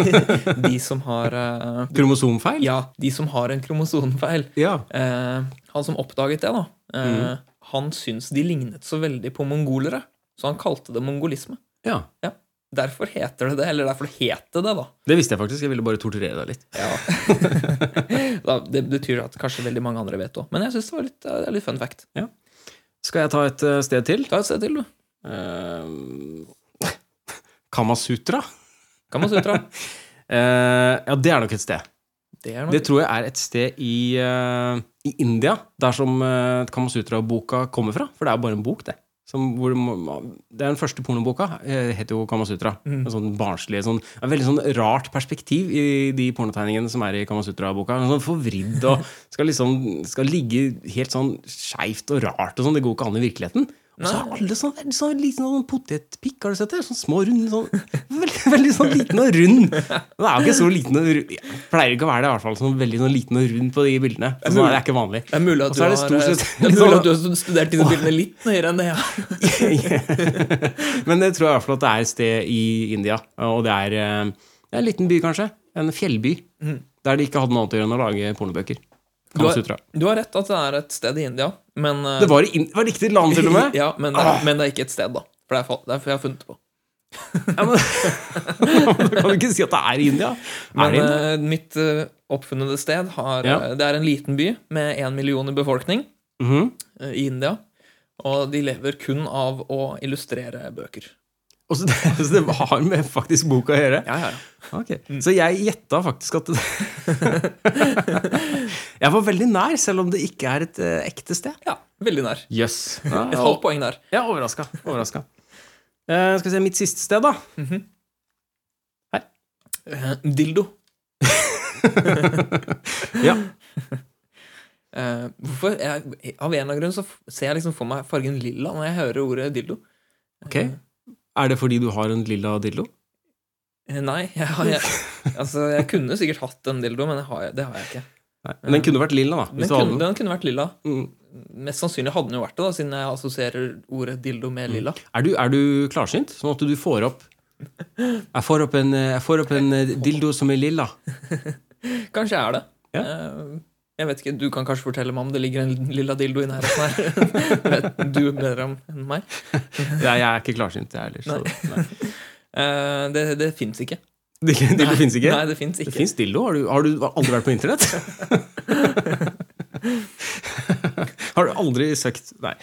De som har eh, Kromosomfeil? Ja, de som har en kromosonfeil. Ja. Eh, han som oppdaget det, da, eh, Mhm. han syntes de lignet så veldig på mongolere, så han kalte det mongolisme. ja. Derfor heter det det, eller derfor het det det, da. Det visste jeg faktisk. Jeg ville bare torturere deg litt. da det betyr at kanskje veldig mange andre vet òg. Men jeg syns det var litt, eh, det er litt fun fact. Skal jeg ta et eh, sted til? Ta et sted til, du. Eh, Kamasutra? Kamasutra. Eh, ja, det er nok et sted. Det er noe. Det tror jeg er et sted i, eh, i India, der som eh, Kamasutra-boka kommer fra. For det er jo bare en bok, det. Som, hvor, man- det er den første pornoboka. eh, heter jo Kamasutra. En sånn barnslig, sånn, en veldig sånn rart perspektiv i de pornotegningene som er i Kamasutra-boka. En Sånn Forvridd og skal, liksom, skal ligge helt sånn skeivt og rart. og sånn, Det går ikke an i virkeligheten. Og så har alle sånn, veldig sånn liten sånn potetpikk, har du sett det? Sånn små, runde sånn, veldig, veldig sånn liten og rund. Den er jo ikke så liten og rund. Ja, Pleier ikke å være det, i hvert fall. Sånn veldig sånn liten og rund på de bildene. Så sånn er det ikke vanlig. det er mulig Og at, du så er har, eh, det stort sett- sånn- det er mulig at du har studert disse bildene litt nøyere enn det. Ja. Men det tror jeg i hvert fall at det er et sted i India. Og det er, eh, det er en liten by, kanskje. En fjellby. Der de ikke hadde noe annet å gjøre enn å lage pornobøker. Mhm. Du, har, Kamasutra. du har rett at det er et sted i India, men eh, Det var, i, det var riktig land, til og med. Ah. ja, men, det er, men det er ikke et sted, da. For det er, fa- det er for jeg har funnet på. Ja, men, da kan du ikke si at det er i India. er Men det India? eh, mitt eh, oppfunnede sted har, Ja. eh, Det er en liten by med én million i befolkning Mhm. eh, i India. Og de lever kun av å illustrere bøker. Og så det, så det har med faktisk boka å gjøre? Ja, ja, ja. Ok, Så jeg gjetta faktisk at det Jeg var veldig nær, selv om det ikke er et eh, ekte sted. ja veldig nær. Jøss. Et Yes. halvt poeng der. Jeg er overraska. overraska. Eh, skal vi se mitt siste sted, da. Eh, Dildo. Ja. Eh, hvorfor, jeg, av en eller annen grunn så f- ser jeg liksom for meg fargen lilla når jeg hører ordet dildo. Ok. Er det fordi du har en lilla dildo? Eh, Nei, jeg, har- jeg, altså, jeg kunne sikkert hatt en dildo, men jeg har, det har jeg ikke. Nei. Men den kunne vært lilla, da. Den Hvis du hadde kunne, den. den kunne vært lilla. Mm. Mest sannsynlig hadde den jo vært det, da, siden jeg assosierer ordet dildo Mm. med lilla. Er du, er du klarsynt? Sånn at du får opp Jeg får opp en, jeg får opp en eh, dildo som er lilla. Kanskje jeg er det. Ja. Eh, Jeg vet ikke, Du kan kanskje fortelle meg om det ligger en lilla dildo i nærheten her. vet du bedre om enn meg. Nei, jeg er ikke klarsynt, jeg heller. Så, nei. Eh, Det, det fins ikke. Dildo, dildo fins ikke? Nei, det fins Det ikke. fins dildo. Har du, har du aldri vært på internett? har du aldri søkt Nei.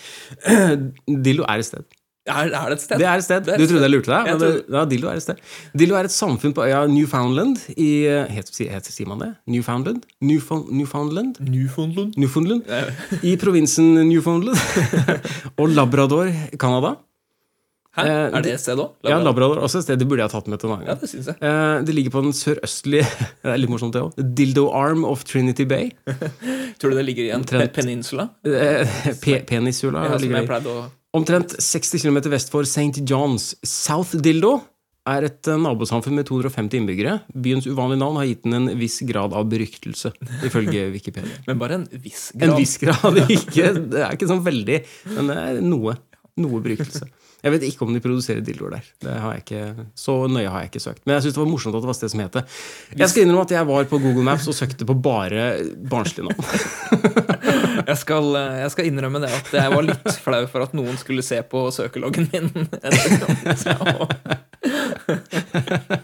Dildo er et sted. Er, er det et sted? Det er et sted. Det er Du et trodde jeg lurte deg, Jeg men det, ja, dildo er et sted. Dildo er et samfunn på øya Newfoundland i het, si- het, Sier man det? Newfoundland? Newfound, Newfoundland? Newfoundland. Newfoundland? I provinsen Newfoundland og Labrador, Canada. Hæ? Eh, Er det et sted òg? Ja, Labrador også et sted. Det burde jeg ha tatt med til en annen Ja, gang. det syns jeg. Eh, Det ligger på den sørøstlige Det er litt morsomt, det òg. Dildo Arm of Trinity Bay. Tror du det ligger i en pe Omtrent. peninsula? Eh, Pe Penisula Ja, som ligger jeg det i. pleide å Omtrent 60 km vest for St. John's. South Dildo er et eh, nabosamfunn med 250 innbyggere. Byens uvanlige navn har gitt den en viss grad av beryktelse, ifølge Wikipedia. Men bare en viss grad. En viss grad, ikke Det er ikke sånn veldig, men det er noe. Noe beryktelse. Jeg vet ikke om de produserer dildoer der. Det har jeg ikke, så nøye har jeg ikke søkt. Men jeg synes det var morsomt at det var et sted som het det. Jeg skal innrømme at jeg var på Google Maps og søkte på bare barnslige navn. Jeg skal, eh, jeg skal innrømme det at jeg var litt flau for at noen skulle se på søkeloggen min. Så-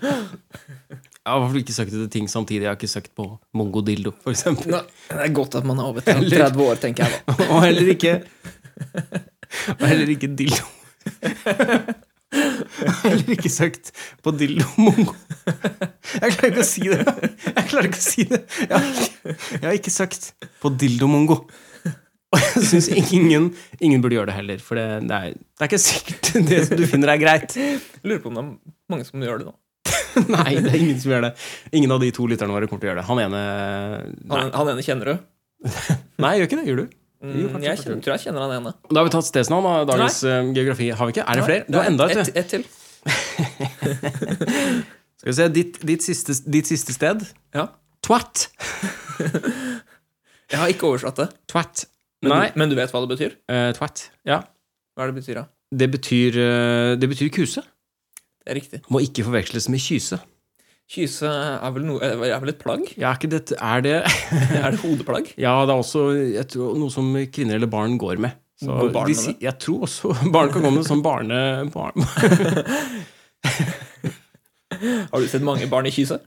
Jeg har i hvert fall ikke søkt etter ting samtidig. Jeg har ikke søkt på mongodildo, f.eks. Nå, det er godt at man er over 30 år, tenker jeg da. Og heller ikke Og heller ikke dildo. Jeg har heller ikke søkt på dildo mongo. Jeg klarer ikke å si det. Jeg klarer ikke å si det. Jeg har ikke, jeg har ikke søkt på dildo mongo. Og jeg syns ingen, ingen burde gjøre det heller, for det, det, er, det er ikke sikkert det som du finner er greit. Lurer på om det er mange som gjør det nå. Nei, det er ingen som gjør det. Ingen av de to lytterne våre kommer til å gjøre det. Han ene Nei, Han, han ene kjenner du? Nei gjør ikke det. Gjør du? Jo, Mm, jeg kanskje, kanskje. kjenner, tror jeg kjenner han ene. Da har vi tatt stedsnavn av dagens eh, geografi. Har vi ikke? Er det flere? Du har enda et. Et, et til. du. Skal vi se, ditt, ditt, siste, ditt siste sted? Ja. Twat. Jeg har ikke oversatt det. Twat. Men, Nei. Du, men du vet hva det betyr? eh, twat. Ja. Hva er det betyr da? Det betyr, eh, det betyr kuse. Det er riktig. Må ikke forveksles med kyse. Kyse er vel, noe, eh, er vel et plagg? Ja, er ikke det, er det Er det hodeplagg? Ja, det er også jeg tror, noe som kvinner eller barn går med. Så Går barn de med det? si- Jeg tror også barn kan gå med det som barne... Barn. Har du sett mange barn i kyse?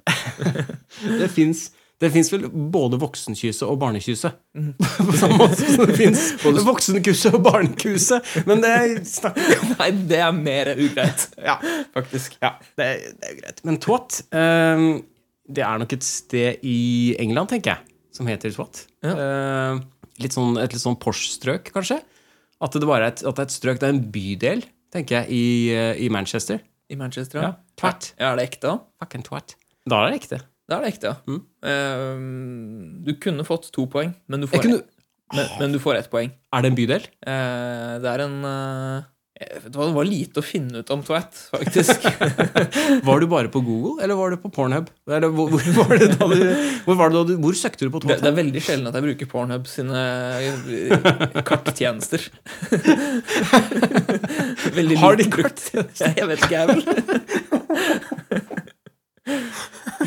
Det fins det fins vel både voksenkyse og barnekyse. Mhm. På samme måte som det fins både voksenkuse og barnekuse. Men det snakker vi om. Nei, det er mer ugreit. Ja, faktisk. Ja, det, det er jo greit. Men twat ehm, Det er nok et sted i England, tenker jeg, som heter twat. Ehm, litt sånn, et litt sånn Porsche-strøk, kanskje. At det bare er et, at det er et strøk. Det er en bydel, tenker jeg, i, eh, i Manchester. I Manchester, Ja. ja. Twat. Ja, Er det ekte, da? Fucking twat. Da er det ekte. Da er det ekte, ja. Mm. Eh, du kunne fått to poeng, men du får, Jeg kunne, men, men du får ett poeng. er det en bydel? Eh, det er en eh, jeg vet hva, Det var lite å finne ut om Tvedt, faktisk. Var du bare på Google, eller var du på Pornhub? Eller hvor, hvor, var det da du, hvor, var det da du, hvor søkte du på Det, det Twitter? er veldig sjelden at jeg bruker Pornhub sine eh, karttjenester. Veldig Har de lite brukt. Jeg vet ikke, jeg vel.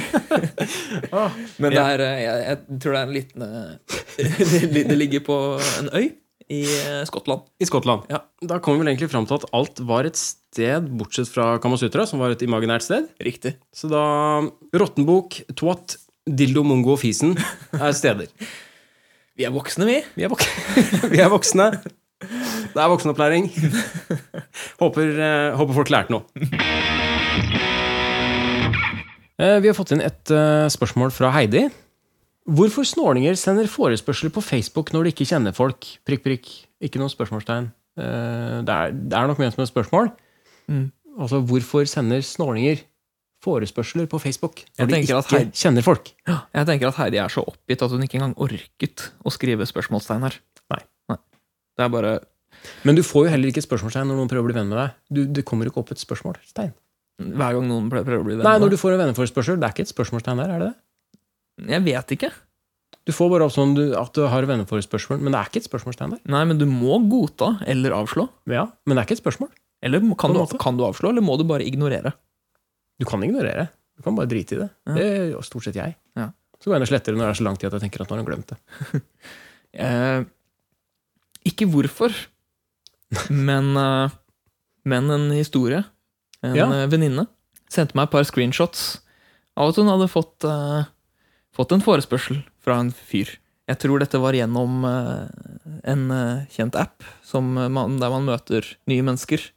Ah, Men det er, eh, jeg, jeg tror det er en liten eh, det, det ligger på en øy i eh, Skottland. I Skottland. Ja. Da kom vi vel egentlig fram til at alt var et sted, bortsett fra Kamasutra, som var et imaginært sted. Riktig. Så da Råttenbok, Twat, Dildo, Mongo og Fisen er steder. Vi er voksne, vi. Vi er, vok vi er voksne. Det er voksenopplæring. Håper, eh, håper folk lærte noe. Eh, Vi har fått inn et eh, spørsmål fra Heidi. Hvorfor snålinger sender forespørsler på Facebook når de ikke kjenner folk? Prikk, prikk. Ikke noe spørsmålstegn. Eh, Det er, det er nok ment som et spørsmål. Altså, hvorfor sender snålinger forespørsler på Facebook Jeg når de tenker ikke at Heid- kjenner folk. Jeg tenker at Heidi er så oppgitt at hun ikke engang orket å skrive spørsmålstegn her. Nei. Det er bare Men du får jo heller ikke et spørsmålstegn når noen prøver å bli venn med deg. Du, det kommer jo ikke opp et spørsmålstegn. Hver gang noen prøver å bli venn Nei, med når du får en venneforespørsel, det er ikke et spørsmålstegn der, er det det? deg. Jeg vet ikke. Du får bare opp sånn du, at du har venneforespørsel, men det er ikke et spørsmålstegn der. Nei, men du må godta eller avslå. Ja, men det er ikke et spørsmål. Eller kan en du, måte. kan du avslå, eller må du bare ignorere? Du kan ignorere. Du kan bare drite i det. Ja. Det gjør stort sett jeg. Ja. Så går jeg inn og sletter det når det er så lang tid at jeg tenker at nå har hun glemt det. Eh, ikke hvorfor, men, eh, men en historie. En Ja. eh, venninne sendte meg et par screenshots av at hun hadde fått, eh, fått en forespørsel fra en fyr. Jeg tror dette var gjennom eh, en eh, kjent app som eh, man, der man møter nye mennesker.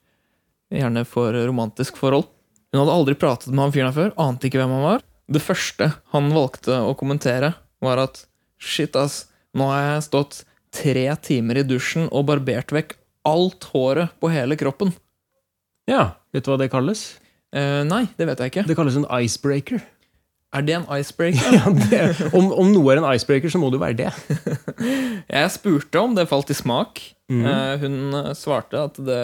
Gjerne for romantisk forhold. Hun hadde aldri pratet med han fyren her før, ante ikke hvem han var. Det første han valgte å kommentere, var at shit, ass, nå har jeg stått tre timer i dusjen og barbert vekk alt håret på hele kroppen. Ja, Vet du hva det kalles? Eh, nei, det vet jeg ikke. Det kalles en icebreaker. Er det en icebreaker? Ja, det, om, om noe er en icebreaker, så må det jo være det. Jeg spurte om det falt i smak. Eh, hun eh, svarte at det,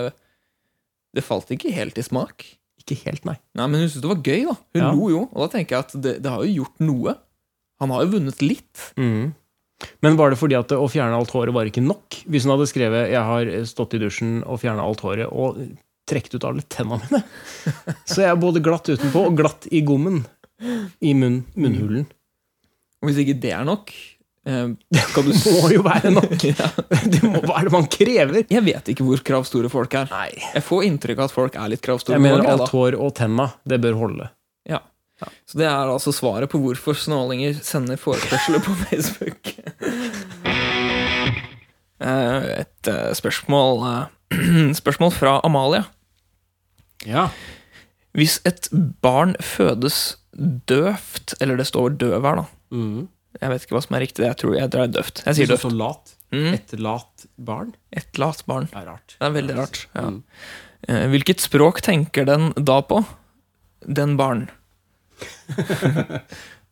det falt ikke helt i smak. Ikke helt, nei. Nei, Men hun syntes det var gøy, da. Hun Ja. lo jo. Og da tenker jeg at det, det har jo gjort noe. Han har jo vunnet litt. Men var det fordi at å fjerne alt håret var ikke nok? Hvis hun hadde skrevet 'Jeg har eh, stått i dusjen og fjerna alt håret' og trukket ut alle tenna mine, så jeg er både glatt utenpå og glatt i gommen. I munn, munnhulen. Og hvis ikke det er nok eh, Skal du må jo være nok! ja. Det må, hva er det man krever? Jeg vet ikke hvor kravstore folk er. Nei. Jeg får inntrykk av at folk er litt kravstore. Jeg mener folk, jeg, alt da. hår og tenna, det bør holde. ja. Så det er altså svaret på hvorfor snålinger sender forespørsler på Facebook. Eh, Et eh, spørsmål eh, Spørsmål fra Amalie. Ja. Hvis et barn fødes døvt Eller det står døv her, da. Mm. Jeg vet ikke hva som er riktig. Jeg tror jeg drar døvt. Jeg sier døvt. så lat. Mm. Et lat barn Et lat barn. er rart. Det er veldig rart. Ja. Mm. Eh, Hvilket språk tenker den da på? Den barn.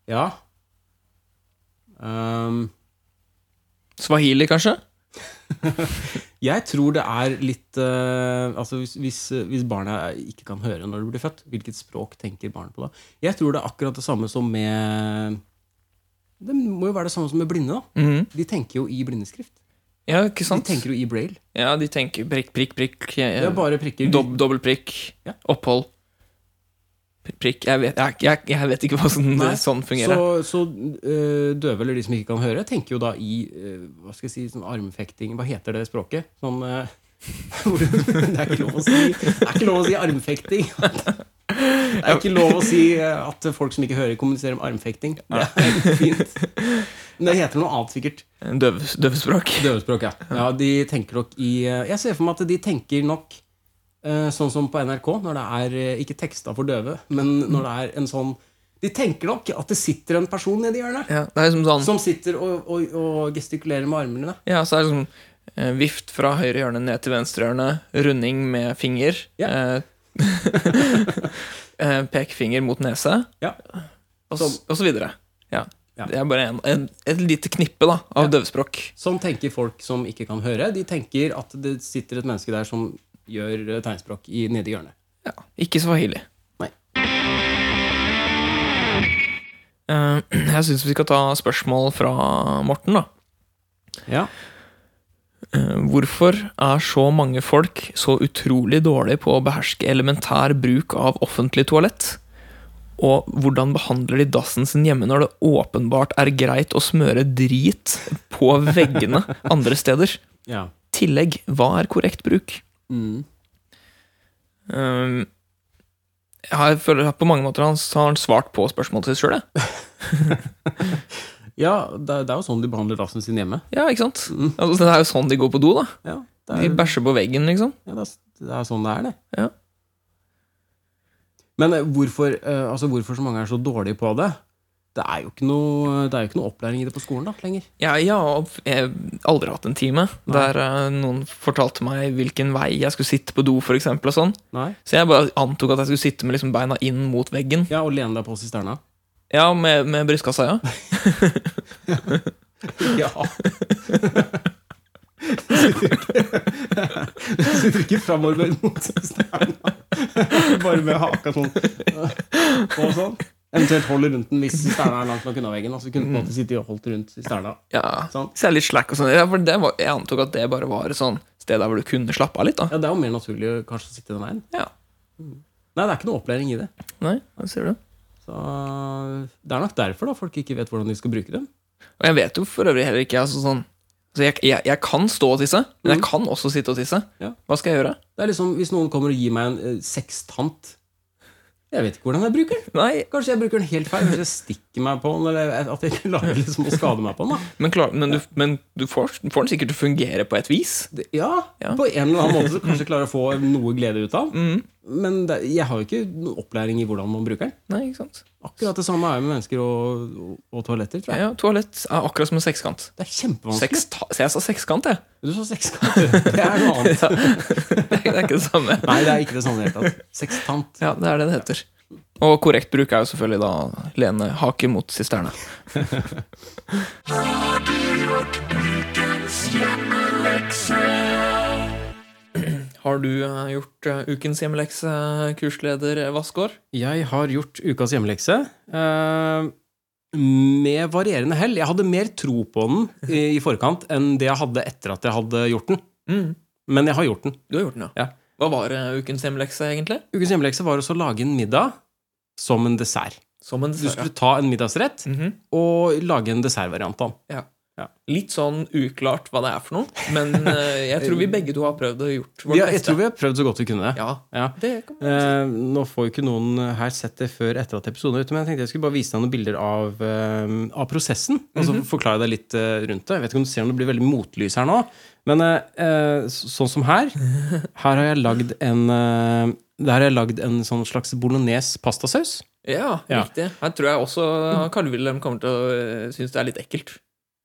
Ja. Um, Swahili, kanskje? Jeg tror det er litt eh, Altså hvis, hvis, hvis barna ikke kan høre når de blir født, hvilket språk tenker barnet på da? Jeg tror det er akkurat det samme som med Det må jo være det samme som med blinde, da. Mhm. De tenker jo i blindeskrift. Ja, ikke De sant? tenker jo i braille. Ja, de tenker prikk, prikk, prikk. eh, Det er bare prikker. Dob Dobbel prikk. Ja. Opphold. Pri- Prikk. Jeg vet, jeg, jeg, jeg vet ikke hva sånn, Nei, sånn fungerer. Så, så eh, døve eller de som ikke kan høre, tenker jo da i eh, hva skal jeg si, sånn armfekting Hva heter det språket? Sånn eh, hvor du- Det er ikke lov å si Det er ikke lov å si armfekting. Det er ikke lov å si eh, at folk som ikke hører, kommuniserer om armfekting. Det er fint. Men det heter noe annet, sikkert. Eh, Døv, døvespråk. Døvespråk, ja. ja. De tenker nok i eh, Jeg ser for meg at de tenker nok eh, sånn som på NRK, når det er eh, ikke teksta for døve, men når det er en sånn De tenker nok at det sitter en person nedi hjørnet Ja, det er liksom sånn som sitter og, og, og gestikulerer med armene. Ja, så er det liksom eh, vift fra høyre hjørne ned til venstre hjørne, runding med finger. Ja. eh, eh, Pekefinger mot nese, Ja. og, s- og så videre. Ja. Ja. Det er bare en, en, et lite knippe da, av døvespråk. Sånn tenker folk som ikke kan høre. De tenker at det sitter et menneske der som gjør eh, tegnspråk i, nedi hjørnet. Ja, ikke swahili. Nei. Eh, Jeg syns vi skal ta spørsmål fra Morten, da. Ja. Eh, Hvorfor er så mange folk så utrolig dårlige på å beherske elementær bruk av offentlig toalett? Og hvordan behandler de dassen sin hjemme når det åpenbart er greit å smøre drit på veggene andre steder? ja. Tillegg, hva er korrekt bruk? Mm. Um, jeg føler at på mange måter han, har han svart på spørsmålet sitt sjøl. ja det, er- det er jo sånn de behandler dassen sin hjemme. Ja, ikke sant? Altså, det er jo sånn de går på do, da. Mm. Ja, det De er, bæsjer på veggen, liksom. Ja, det er, det er sånn det er, det. Ja. Men eh, hvorfor, eh, altså hvorfor så mange er så dårlige på det? Det er jo ikke noe, det er jo ikke noe opplæring i det på skolen da, lenger. Jeg, jeg har f- jeg har aldri hatt en time der eh, noen fortalte meg hvilken vei jeg skulle sitte på do, for eksempel, og sånn. Nei. Så jeg bare antok at jeg skulle sitte med liksom beina inn mot veggen. Ja, og lene deg på sisterna. Ja, med, med brystkassa, ja. Ja. Du sitter ikke framover mot sisterna. Bare med haka sånn. Og sånn. Eventuelt holde rundt den hvis sisterna er langt nok unna veggen. da, Så kunne du på en måte sitte og holdt rundt sisterna. ja. Sånn. Så jeg er litt slack og sånn. Ja, for det var, jeg antok at det bare var et sånn sted der hvor du kunne slappe av litt, da. Ja, det er jo mer naturlig å kanskje å sitte den veien. Ja. Nei, det er ikke noe opplæring i det. Nei, der ser du. Så eh, Det er nok derfor da folk ikke vet hvordan de skal bruke dem. Og jeg vet jo for øvrig heller ikke altså sånn altså jeg, jeg, jeg kan stå og tisse, men jeg kan også sitte og tisse. Ja. Hva skal jeg gjøre? Det er liksom Hvis noen kommer og gir meg en eh, sextant Jeg vet ikke hvordan jeg bruker den. Nei, Kanskje jeg bruker den helt feil. Kanskje jeg stikker meg på den, eller at jeg klarer liksom å skade meg på den. da men, klar, men, du, men du får, får den sikkert til å fungere på et vis. Det- ja, Ja. På en eller annen måte så kanskje jeg klarer å få noe glede ut av den. Men det, jeg har jo ikke noen opplæring i hvordan man bruker den. Nei, ikke sant? Akkurat det samme er jo med mennesker og, og, og toaletter. tror jeg Ja, toalett er akkurat som en sekskant. Det er kjempevanskelig. Seksta, så jeg sa sekskant, jeg. Du sa sekskant. Det er noe annet. Ja. Det er ikke det samme. Nei, det er ikke det samme i det hele tatt. Sextant. Ja, det er det det heter. Og korrekt bruk er jo selvfølgelig da lene hake mot sisterne. Har du eh, gjort eh, ukens hjemmelekse, eh, kursleder Vassgård? Jeg har gjort ukas hjemmelekse. eh, med varierende hell. Jeg hadde mer tro på den i, i forkant enn det jeg hadde etter at jeg hadde gjort den. Men jeg har gjort den. Du har gjort den, Mm. ja. Ja. Hva var eh, ukens hjemmelekse, egentlig? Ukens hjemmelekse var også å lage en middag som en dessert. Som en Du skulle ta en middagsrett Mhm. og lage en dessertvariant av den. Ja. Ja. Litt sånn uklart hva det er for noe, men eh, jeg tror vi begge to har prøvd og gjort vårt Vi har- Jeg beste. tror vi har prøvd så godt vi kunne. Ja, Ja. det kan man Eh, nå får jo ikke noen her sett det før etter at episoden er ute, men jeg tenkte jeg skulle bare vise deg noen bilder av, eh, av prosessen. Og så forklare deg litt eh, rundt det. Jeg vet ikke om du ser om det blir veldig motlys her nå, men eh, eh, så- sånn som her Her har jeg lagd en eh, der har jeg lagd en sånn slags bolognese pastasaus. ja, Ja. riktig. Her tror jeg også Karl Wilhelm kommer til å eh, synes det er litt ekkelt.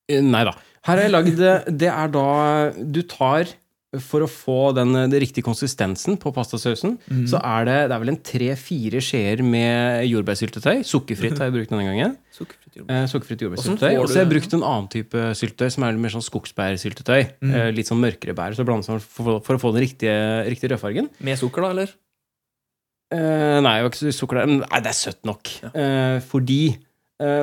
Eh, Nei da. Her har jeg lagd eh, Det er da du tar for å få den, eh, den riktige konsistensen på pastasausen, så er det, det er vel en tre-fire skjeer med jordbærsyltetøy. Sukkerfritt har jeg brukt denne gangen. Sukkerfritt jordbær. Eh, Sukkerfritt Hvordan jordbærsyltetøy. får Og du så har jeg det? brukt en annen type syltetøy, som er litt mer sånn skogsbærsyltetøy. Eh, Litt sånn mørkere bær. Så blandes man for, for å få den riktige, riktige rødfargen. Med sukker, da, eller? Eh, nei, det var ikke så sukker der. Men nei, det er søtt nok. Eh, fordi eh,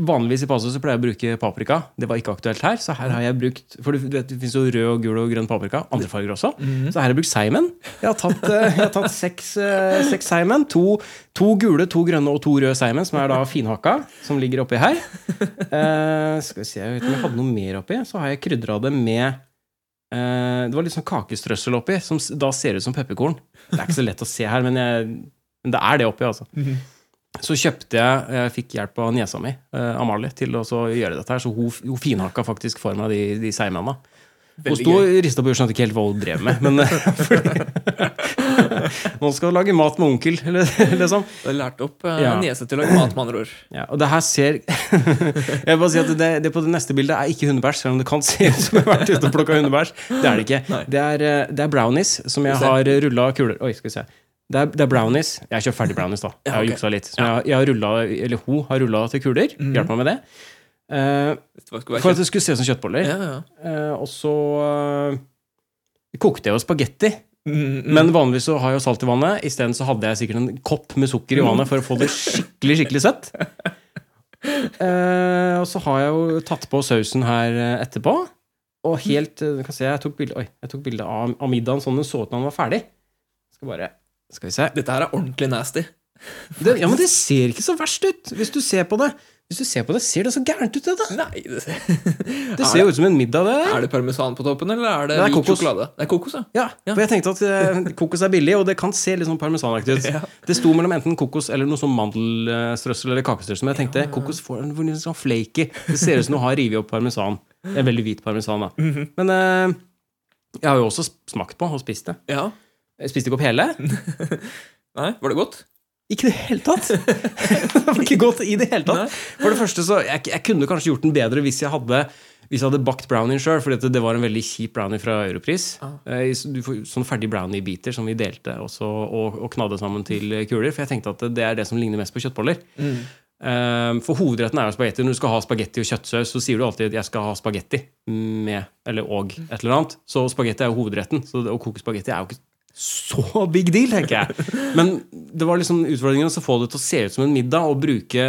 Vanligvis i Paso så pleier jeg å bruke paprika. Det var ikke aktuelt her. Så her har jeg brukt For du, du vet, det fins jo rød, og gul og grønn paprika. Andre farger også. Så her har jeg brukt seimen. Jeg har tatt, eh, jeg har tatt seks, eh, seks seimen. To, to gule, to grønne og to røde seimen, som er da finhakka, som ligger oppi her. Eh, skal vi se, jeg vet ikke om jeg hadde noe mer oppi. Så har jeg krydra det med eh, Det var litt sånn kakestrøssel oppi, som s- da ser ut som pepperkorn. Det er ikke så lett å se her, men, jeg, men det er det oppi, altså. Så kjøpte jeg Jeg fikk hjelp av niesa mi, eh, Amalie, til å så gjøre dette her. Så hun, hun finhakka faktisk for meg de, de seigmennene. Hun Veldig sto og rista på jorda, skjønte ikke helt hva hun drev med. Men eh, fordi, Nå skal hun lage mat med onkel, eller liksom. Du har lært opp eh, Ja. niese til å lage mat, med andre ord. Ja, og det her ser Jeg vil bare si at det, det på det neste bildet er ikke hundebæsj, selv om det kan se ut som jeg har vært ute og plukka hundebæsj. Det er det ikke. Nei. Det er, eh, det er brownies som jeg Skal vi har rulla kuler Oi, skal vi se. Det er, det er brownies. Jeg har kjøpt ferdig brownies, da. Jeg har ok. juksa litt. Så jeg, har- jeg har rullet, eller hun har rulla til kuler. Mhm. Hjalp meg med det. Eh, Hvis det skulle for at være kjent. det skulle se ut som kjøttboller. Ja, ja. Eh, og så eh, kokte jeg jo spagetti. Mm, mm. Men vanligvis så har jeg jo salt i vannet. Isteden så hadde jeg sikkert en kopp med sukker i vannet for å få det skikkelig skikkelig søtt. Eh, og så har jeg jo tatt på sausen her eh, etterpå. Og helt eh, du kan se, Jeg tok bilde, oi, jeg tok bilde av, av middagen sånn den så ut da den var ferdig. Skal bare Skal vi se. Dette her er ordentlig nasty. Det, ja, men det ser ikke så verst ut, hvis du ser på det. Hvis du ser på det, ser det så gærent ut, det da. Nei, det ser Det ser jo ut som en middag, det der. Er det parmesan på toppen, eller er det, Det er hvit kokos. sjokolade? Det er kokos, ja. Ja, for jeg tenkte at eh, kokos er billig, og det kan se litt sånn parmesanaktig ut. Det sto mellom enten kokos eller noe sånn mandelstrøssel eller kakestrøssel. Men jeg tenkte kokos får en hvor litt sånn flaky. Det ser ut som du har revet opp parmesan. Det er veldig hvit parmesan, da. Men eh, jeg har jo også smakt på og spist det. ja. Jeg spiste ikke opp hele. Nei, var det godt? Ikke i det hele tatt! det var ikke godt i det hele tatt. Nei. For det første så, jeg, jeg kunne kanskje gjort den bedre hvis jeg hadde hvis jeg hadde bakt brownien sjøl, for det var en veldig kjip brownie fra Europris. Eh, i s- Du får sånn ferdig brownie-biter som vi delte også, og, og knadde sammen til eh, kuler. For jeg tenkte at det er det som ligner mest på kjøttboller. Eh, For hovedretten er jo spagetti. Når du skal ha spagetti og kjøttsaus, så sier du alltid at 'jeg skal ha spagetti med eller og et eller annet'. Så spagetti er jo hovedretten. Så det, å koke spagetti er jo ikke så big deal, tenker jeg. Men det var liksom utfordringen å få det til å se ut som en middag og bruke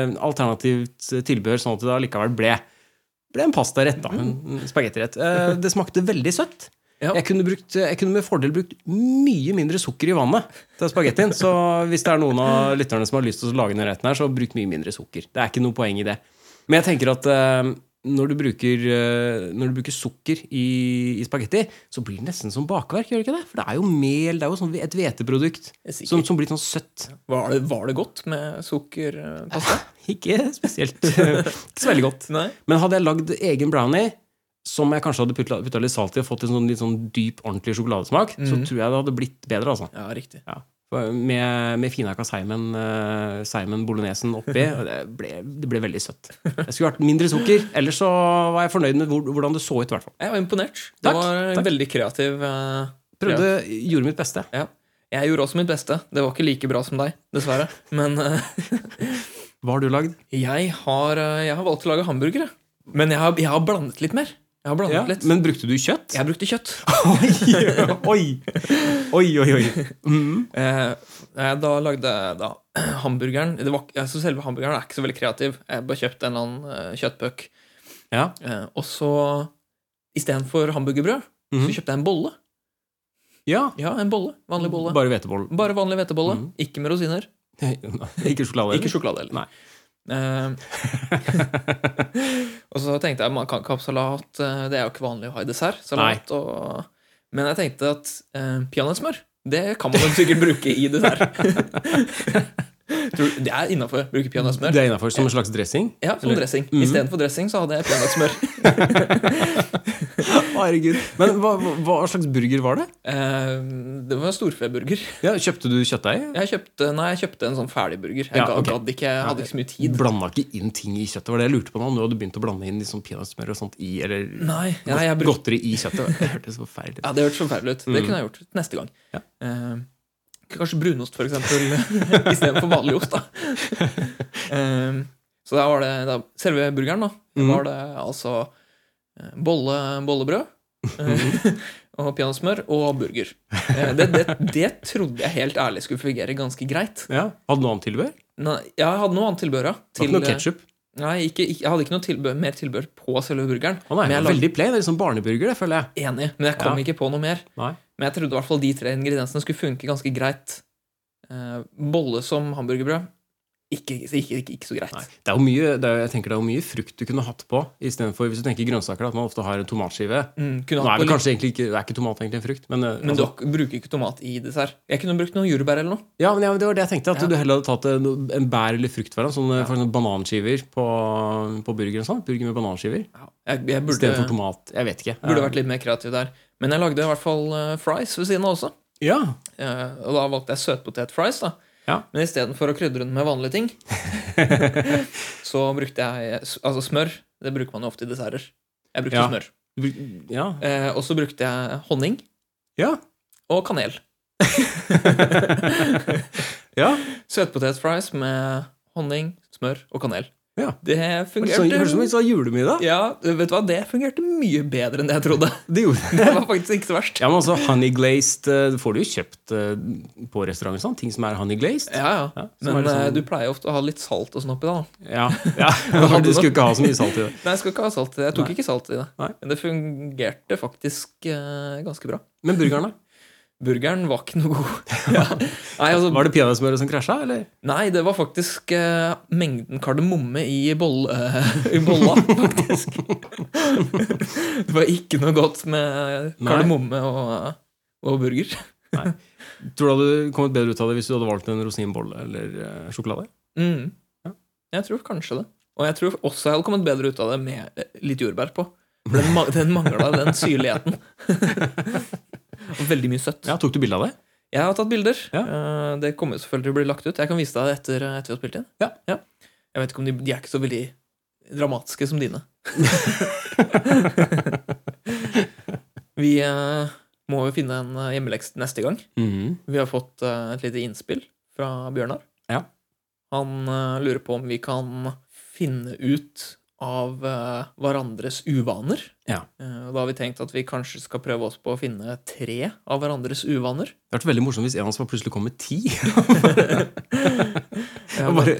alternativt tilbehør, sånn at det allikevel ble, ble en pastarett, da. En en spagettirett. Eh, Det smakte veldig søtt. Mm. Ja. Jeg, kunne brukt, jeg kunne med fordel brukt mye mindre sukker i vannet til spagettien. Så hvis det er noen av lytterne som har lyst til å lage denne retten her, så bruk mye mindre sukker. Det er ikke noe poeng i det. Men jeg tenker at eh, når, du bruker, eh, når du bruker sukker i, i spagetti, så blir det nesten som bakverk, gjør det ikke det? For det er jo mel, det er jo sånn et hveteprodukt er sikkert. som, som blir sånn søtt. Var det, var det godt med eh, sukkerpasta? Ikke spesielt. ikke så veldig godt. Nei? Men hadde jeg lagd egen brownie, som jeg kanskje hadde putta, putta litt salt i og fått en sånn, litt sånn dyp, ordentlig sjokoladesmak, så tror jeg det hadde blitt bedre. altså. Ja, riktig. Mhm. Ja. For Med, med finhakka Simon, eh, Simon bolognesen oppi. og Det ble, det ble veldig søtt. Jeg skulle vært mindre sukker. Ellers så var jeg fornøyd med hvor, hvordan det så ut. i hvert fall. Jeg var imponert. Det Takk, var en takk. veldig kreativ eh, Prøvde, Gjorde mitt beste. Ja. Jeg gjorde også mitt beste. Det var ikke like bra som deg, dessverre. Men eh, Hva har du lagd? jeg, har, eh, jeg har valgt å lage hamburgere. Men jeg har, jeg har blandet litt mer. Jeg har blandet Ja, litt. men brukte du kjøtt? Jeg brukte kjøtt. oi, oi, oi, oi. Mm. Eh, eh, da lagde jeg da hamburgeren det var, ikke- altså Selve hamburgeren er ikke så veldig kreativ. Jeg bare kjøpte en eller annen eh, kjøttpuck. Ja. Eh, og så istedenfor hamburgerbrød, så Mhm. kjøpte jeg en bolle. ja. Ja, en bolle. Vanlig bolle. Bare hveteboll. Bare vanlig hvetebolle. Mhm. Ikke med rosiner. Ikke sjokolade? Ikke sjokolade heller. Nei. Eh, og så tenkte jeg man kan ikke ha salat. eh, Det er jo ikke vanlig å ha i dessert. Salat og, men jeg tenkte at eh, peanøttsmør, det kan man jo sikkert bruke i dessert. Tror, det er innafor. Bruke peanøttsmør. Det er innafor. Som en slags dressing? Ja, som Eller- dressing. Mhm. Istedenfor dressing så hadde jeg peanøttsmør. Herregud. Men hva, hva- hva slags burger var det? Eh, det var en storfeburger. Ja, kjøpte du kjøttdeig? Jeg kjøpte, nei, jeg kjøpte en sånn ferdigburger. Jeg Ja, ga- ok. gadd ikke, jeg hadde ikke så mye tid. Blanda ikke inn ting i kjøttet? Var det jeg lurte på nå, om du hadde begynt å blande inn litt sånn peanøttsmør og sånt i, eller Nei, nei jeg brukte godteri i kjøttet? Det hørtes så feil ut. Ja, det hørtes forferdelig ut. Det kunne jeg gjort neste gang. Mm. Ja. Eh, kanskje brunost, for eksempel, istedenfor vanlig ost, da. Eh, så da var det da, selve burgeren, da. Mm. Var det altså eh, bolle, bollebrød eh, og peanøttsmør og burger. Eh, det, det, det trodde jeg helt ærlig skulle fungere ganske greit. Ja. Hadde du noe annet tilbehør? Nei, jeg hadde noe annet tilbehør, ja. Til, ikke noe eh, ketsjup? Nei, ikke, ikke, jeg hadde ikke noe tilbehør, mer tilbehør på selve burgeren. Han men er jeg jo lagde, veldig plain. Det er liksom barneburger, det, føler jeg. enig, men jeg kom Ja. ikke på noe mer. Nei. Men jeg trodde i hvert fall de tre ingrediensene skulle funke ganske greit. Eh, bolle som hamburgerbrød ikke, ikke, ikke, ikke så greit. Nei. Det er jo mye, det er, jo- jeg tenker det er jo mye frukt du kunne hatt på, istedenfor hvis du tenker grønnsaker, at man ofte har en tomatskive. Mm, kunne Nå er hatt det på litt, kanskje egentlig ikke, det er ikke tomat egentlig en frukt, men, eh, men altså- dere bruker ikke tomat i dessert. Jeg kunne brukt noen jordbær eller noe. Ja, men ja, men det var det jeg tenkte. At Ja. du heller hadde tatt en, en bær- eller fruktvariant. Sånne, for eksempel bananskiver på, på burger. og sånn, Burger med bananskiver Jeg, jeg burde, istedenfor tomat. Jeg vet ikke. burde vært litt mer kreativ der. Men jeg lagde i hvert fall eh, fries ved siden av også. Ja, Eh, og da valgte jeg søtpotetfries. da. Ja. Men istedenfor å krydre den med vanlige ting, så brukte jeg altså smør. Det bruker man jo ofte i desserter. Jeg brukte Ja. smør. Du bruk- ja. Eh, og så brukte jeg honning ja. og kanel. ja. Søtpotetfries med honning, smør og kanel. Ja. Det Det var litt sånn- Hørtes ut som fungerte en sånn julemiddag. ja, vet du hva? Det fungerte mye bedre enn det jeg trodde. Det gjorde Det var faktisk ikke så verst. Ja, men altså honey glazed eh, Det får du jo kjøpt eh, på restauranter. Sånn, ting som er honey glazed. Ja, ja. Ja, så var Men det sånn- eh, du pleier jo ofte å ha litt salt og sånn oppi det. da. Ja. ja. Du skulle ikke ha så mye salt i det. Nei, jeg skal ikke ha salt i det. Jeg tok Nei. ikke salt i det. Nei. Men det fungerte faktisk eh, ganske bra. Men burgeren, da? Burgeren var ikke noe god. Ja. Nei, altså, Var det peanøttsmøret som krasja, eller? Nei, det var faktisk eh, mengden kardemomme i, boll, eh, i bolla, faktisk. det var ikke noe godt med Nei. kardemomme og, og burger. Nei. Tror du hadde kommet bedre ut av det hvis du hadde valgt en rosinbolle eller eh, sjokolade? Mm. Ja. Jeg tror kanskje det. Og jeg tror også jeg hadde kommet bedre ut av det med eh, litt jordbær på. For Den, ma- den mangla den syrligheten. Og veldig mye søtt. Ja, Tok du bilde av det? Jeg har tatt bilder. Eh, Det kommer jo selvfølgelig til å bli lagt ut. Jeg kan vise deg det etter, eh, etter vi har spilt inn. Ja. Jeg vet ikke om de, de er ikke så veldig dramatiske som dine. vi eh, må jo finne en eh, hjemmelekst neste gang. Mhm. Vi har fått eh, et lite innspill fra Bjørnar. Ja. Han eh, lurer på om vi kan finne ut av eh, hverandres uvaner. Ja. Eh, og da har vi tenkt at vi kanskje skal prøve oss på å finne tre av hverandres uvaner. Det hadde vært veldig morsomt hvis en av oss bare plutselig kom med ti. Ja, Og bare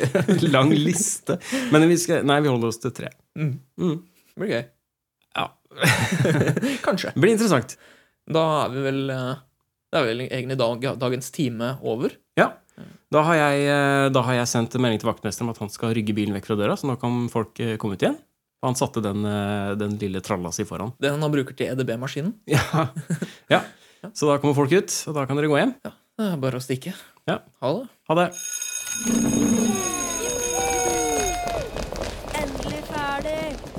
lang liste. Men vi skal, nei, vi holder oss til tre. Mm. Mm. Det blir gøy. Ja. Kanskje. Det blir interessant. Da er vi vel eh, Det er vel egentlig dag, dagens time over. Ja. Da har, jeg, eh, da har jeg sendt en melding til vaktmesteren om at han skal rygge bilen vekk fra døra, så nå kan folk eh, komme ut igjen. Og han satte den, eh, den lille tralla si foran. Den han bruker til E EDB-maskinen. Ja. ja. Så da kommer folk ut, og da kan dere gå hjem. Det er bare å stikke. Ja. Ha det. Ha det. Endelig ferdig!